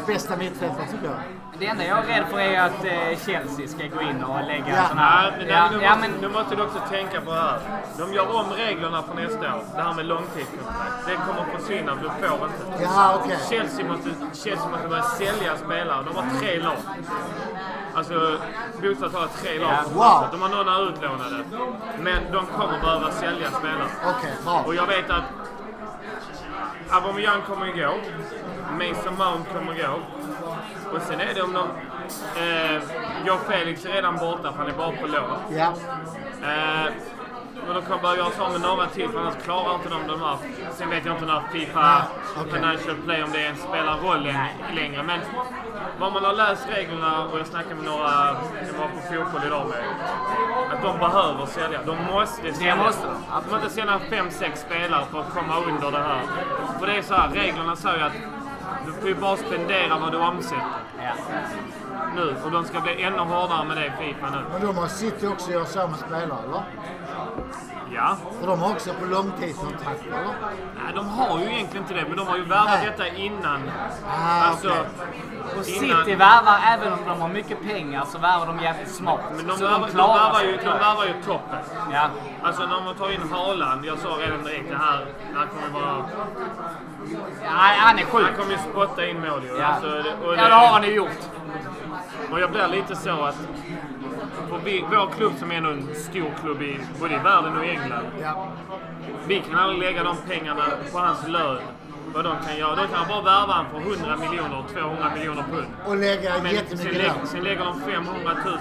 Speaker 10: bästa mittfältare tycker jag.
Speaker 3: det enda jag är rädd för är ju att eh, Chelsea ska gå in och lägga
Speaker 10: Ja.
Speaker 3: en sån här...
Speaker 8: Nej, men,
Speaker 3: ja,
Speaker 8: nu,
Speaker 3: ja,
Speaker 8: måste,
Speaker 3: men
Speaker 8: nu måste du också tänka på det här. De gör om reglerna för nästa år. Det här med långtidskontrakt. Det kommer att försvinna. Du får inte.
Speaker 10: Ja, okej.
Speaker 8: Chelsea, måste, Chelsea måste börja sälja spelare. De har tre lag. Alltså, Bostad har tre lag.
Speaker 10: Wow.
Speaker 8: De har några utlånade. Men de kommer behöva sälja spelare.
Speaker 10: Okej, bra.
Speaker 8: Och jag vet att Aubameyang kommer gå. Mason Mount kommer gå. Och sen är det om de... Eh, Joe Felix är redan borta för han är bara på lån.
Speaker 10: Ja.
Speaker 8: Eh, men de kommer börja göra så med några till för annars klarar inte de de här. Sen vet jag inte när Fifa
Speaker 10: okej.
Speaker 8: Financial Play om det ens spelar roll än, längre. Men vad man har läst reglerna och jag snackade med några, jag var på fotboll idag med, att de behöver sälja. De måste sälja.
Speaker 3: måste de.
Speaker 8: de måste sälja fem, sex spelare för att komma under det här. För det är så här, reglerna säger ju att du får ju bara spendera vad du omsätter
Speaker 3: ja.
Speaker 8: nu. Och de ska bli ännu hårdare med det i Fifa nu.
Speaker 10: Men de har City också gör så med spelare, eller?
Speaker 8: Ja.
Speaker 10: För de har också på långtidskontrakt, eller?
Speaker 8: Nej, de har ju egentligen inte det, men de har ju värvat
Speaker 10: Nej.
Speaker 8: detta innan. alltså,
Speaker 10: Ah, okej.
Speaker 3: Och City värvar, även om de har mycket pengar, så värvar de jävligt smart.
Speaker 8: Men de,
Speaker 3: så
Speaker 8: värvar,
Speaker 3: de
Speaker 8: de,
Speaker 3: klarar
Speaker 8: värvar
Speaker 3: sig.
Speaker 8: ju, de värvar ju toppen.
Speaker 3: Ja.
Speaker 8: Alltså när man tar in Haaland, jag sa redan direkt det här, det här kommer bara...
Speaker 3: Ja, han är sjuk.
Speaker 8: Han kommer ju spotta in mål ju.
Speaker 3: Ja.
Speaker 8: Alltså, det- och
Speaker 3: ja, det har han ju gjort.
Speaker 8: Och jag blir lite så att... På vi, vår klubb som är ändå en stor klubb i både i världen och i England.
Speaker 10: Ja.
Speaker 8: Vi kan aldrig lägga de pengarna på hans lön. Vad de kan göra. De kan bara värva han för 100 miljoner, 200 miljoner pund.
Speaker 10: Och lägga
Speaker 8: Men sen,
Speaker 10: jättemycket
Speaker 8: lägger,
Speaker 10: lön.
Speaker 8: sen lägger de 500 000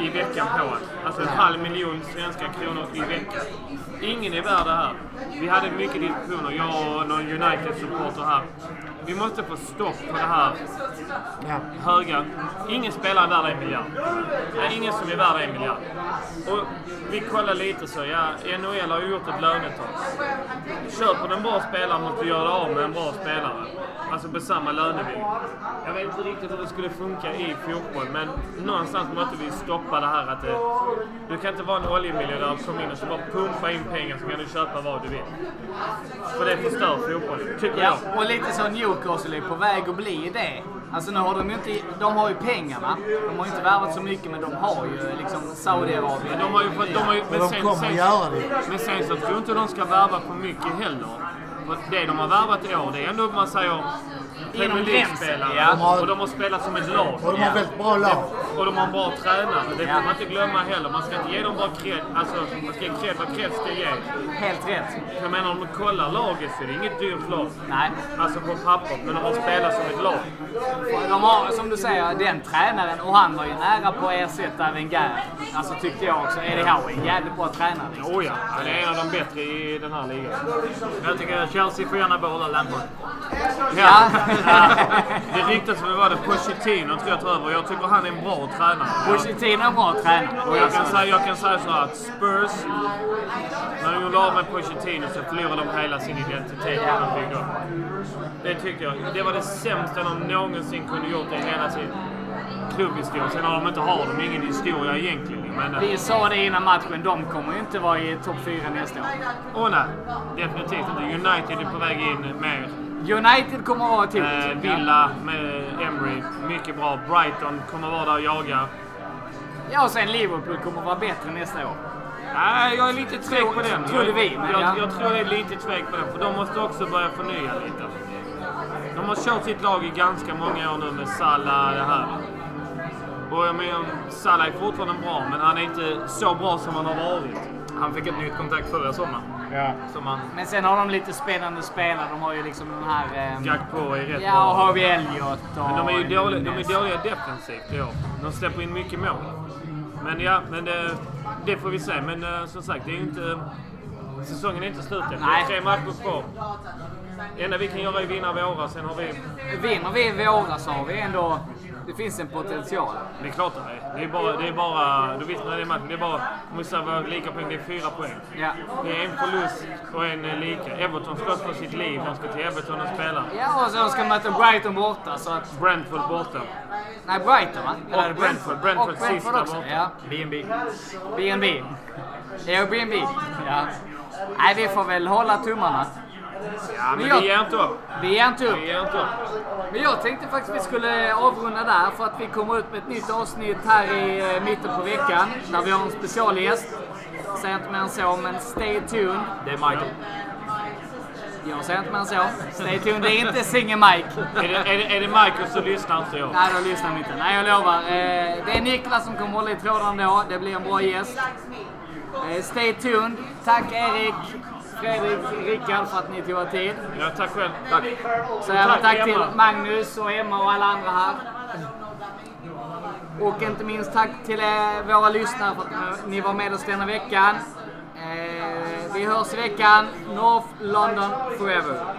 Speaker 8: i veckan på en. Alltså en halv miljon svenska kronor i veckan. Ingen är värd det här. Vi hade mycket diskussioner, jag och någon United-supporter här. Vi måste få stopp på det här
Speaker 10: Ja.
Speaker 8: höga... Ingen spelare är värd en miljard. Det är ingen som är värd en miljard. Och vi kollar lite så, ja, NHL har ju gjort ett lönetak. Köper du en bra spelare måste du göra av med en bra spelare. Alltså på samma lönevillkor. Jag vet inte riktigt hur det skulle funka i fotboll, men någonstans måste vi stoppa det här att det, du kan inte vara en oljemiljardär som in och så bara pumpa in pengar så kan du köpa vad du vill. För det förstör fotbollen, tycker
Speaker 3: Ja,
Speaker 8: jag.
Speaker 3: och lite så Newcastle är på väg att bli det. Alltså nu har de ju inte, de har ju pengarna. De har ju inte värvat så mycket men de har ju liksom Saudiarabien.
Speaker 8: De har ju fått... De har ju,
Speaker 10: Och de kommer att göra det.
Speaker 8: Men sen så tror jag inte de ska värva för mycket heller. För det de har värvat i år, det är ändå man säger Premier League-spelare.
Speaker 3: gränsen,
Speaker 10: ja.
Speaker 8: Och de har spelat som ett lag.
Speaker 10: Och de har väldigt bra lag.
Speaker 8: Och de har en bra tränare. Det får
Speaker 3: Ja.
Speaker 8: man inte glömma heller. Man ska inte ge dem bara cred. Alltså, man ska ge cred vad cred ska ge.
Speaker 3: Helt rätt.
Speaker 8: Jag menar om du kollar laget så är det inget dyrt lag.
Speaker 3: Nej.
Speaker 8: Alltså på papper, men de har spelat som ett lag.
Speaker 3: De har, som du säger, den tränaren och han var ju nära på att ersätta Wenger. Alltså tyckte jag också. Eddie Howe är en jävligt bra tränare. Liksom.
Speaker 8: Oh ja, han är en av de bättre i den här ligan.
Speaker 11: Jag tycker att Chelsea får gärna behålla Lampard.
Speaker 3: Ja.
Speaker 8: Det ryktas om det var det Pochettino tror jag tar över. Jag tycker han är en bra tränare.
Speaker 3: Pochettino är en bra tränare.
Speaker 8: Och jag kan säga, jag kan säga så här att Spurs, när de gjorde av med Pochettino så förlorade de hela sin identitet när de byggde upp. Det tycker jag. Det var det sämsta de någonsin kunde gjort i hela sin klubbhistoria. Sen har de inte har de ingen historia egentligen. Men,
Speaker 3: Vi sa det innan matchen, de kommer ju inte vara i topp 4 nästa år.
Speaker 8: åh nej, definitivt inte. United är på väg in mer.
Speaker 3: United kommer att vara ett hot.
Speaker 8: Eh, Villa med Emery, mycket bra. Brighton kommer vara där och jaga.
Speaker 3: Ja, och sen Liverpool kommer att vara bättre nästa år.
Speaker 8: Nej, jag är lite tvek på den.
Speaker 3: Trodde vi, men
Speaker 8: jag,
Speaker 3: ja.
Speaker 8: jag tror jag är lite tvek på den, för de måste också börja förnya lite. De har kört sitt lag i ganska många år nu med Salah det här. Och jag menar, Salah är fortfarande bra, men han är inte så bra som han har varit.
Speaker 11: Han fick ett nytt kontrakt förra sommaren. Som han...
Speaker 3: Men sen har de lite spännande spelare. De har ju liksom den här... ehm,
Speaker 8: Jack på är rätt
Speaker 3: ja, och
Speaker 8: bra.
Speaker 3: Harvey Elliot och...
Speaker 8: Men de är ju dåliga, de är
Speaker 3: Nunes.
Speaker 8: dåliga defensivt i år. De släpper in mycket eh, mål. Men ja, men det, det får vi se. Men eh, som sagt, det är ju inte... säsongen är inte slut än. Det
Speaker 3: Nej.
Speaker 8: är tre matcher kvar. Det enda vi kan göra är att vinna våra, sen har vi...
Speaker 3: Vinner vi i våras så har vi ändå... Det finns en potential.
Speaker 8: Det är klart det är. Det är bara... Det är bara du vet när det är matchen. Det är bara... Om vi säger att vi har lika poäng, det är fyra poäng.
Speaker 3: Ja.
Speaker 8: Det är en förlust och en eh, lika. Everton slåss för sitt liv. De ska till Everton och spela.
Speaker 3: Ja, och så ska de möta Brighton borta så att...
Speaker 8: Brentford borta.
Speaker 3: Nej, Brighton va?
Speaker 8: Och Brentford. Brentford
Speaker 3: och Brentford
Speaker 8: sista
Speaker 3: också,
Speaker 8: borta.
Speaker 3: ja.
Speaker 8: B&B.
Speaker 3: B&B. Ja, B&B. Ja. Nej, vi får väl hålla tummarna.
Speaker 8: Ja, men
Speaker 3: jag-
Speaker 8: vi ger inte upp.
Speaker 3: Vi ger inte upp.
Speaker 8: Vi ger inte upp.
Speaker 3: Men jag tänkte faktiskt vi skulle avrunda där för att vi kommer ut med ett nytt avsnitt här i eh, mitten på veckan där vi har en specialgäst. Säger inte mer än så, men stay tuned.
Speaker 8: Det är Michael.
Speaker 3: Jag säger inte mer än så. Stay tuned. Det är inte Singer Mike.
Speaker 8: är, det, är, det, är det Michael så lyssnar inte jag.
Speaker 3: Nej, då lyssnar vi inte. Nej, jag lovar. Eh, Det är Niklas som kommer hålla i trådarna då. Det blir en bra gäst. Eh, Stay tuned. Tack Erik, Fredrik, Rickard för att ni tog er tid.
Speaker 8: Ja, tack själv. Tack.
Speaker 3: Så jävla
Speaker 8: Tack,
Speaker 3: tack till
Speaker 8: Emma.
Speaker 3: Magnus och Emma och alla andra här. Och inte minst tack till eh, våra lyssnare för att ni var med oss denna veckan. Eh, vi hörs i veckan. North London forever.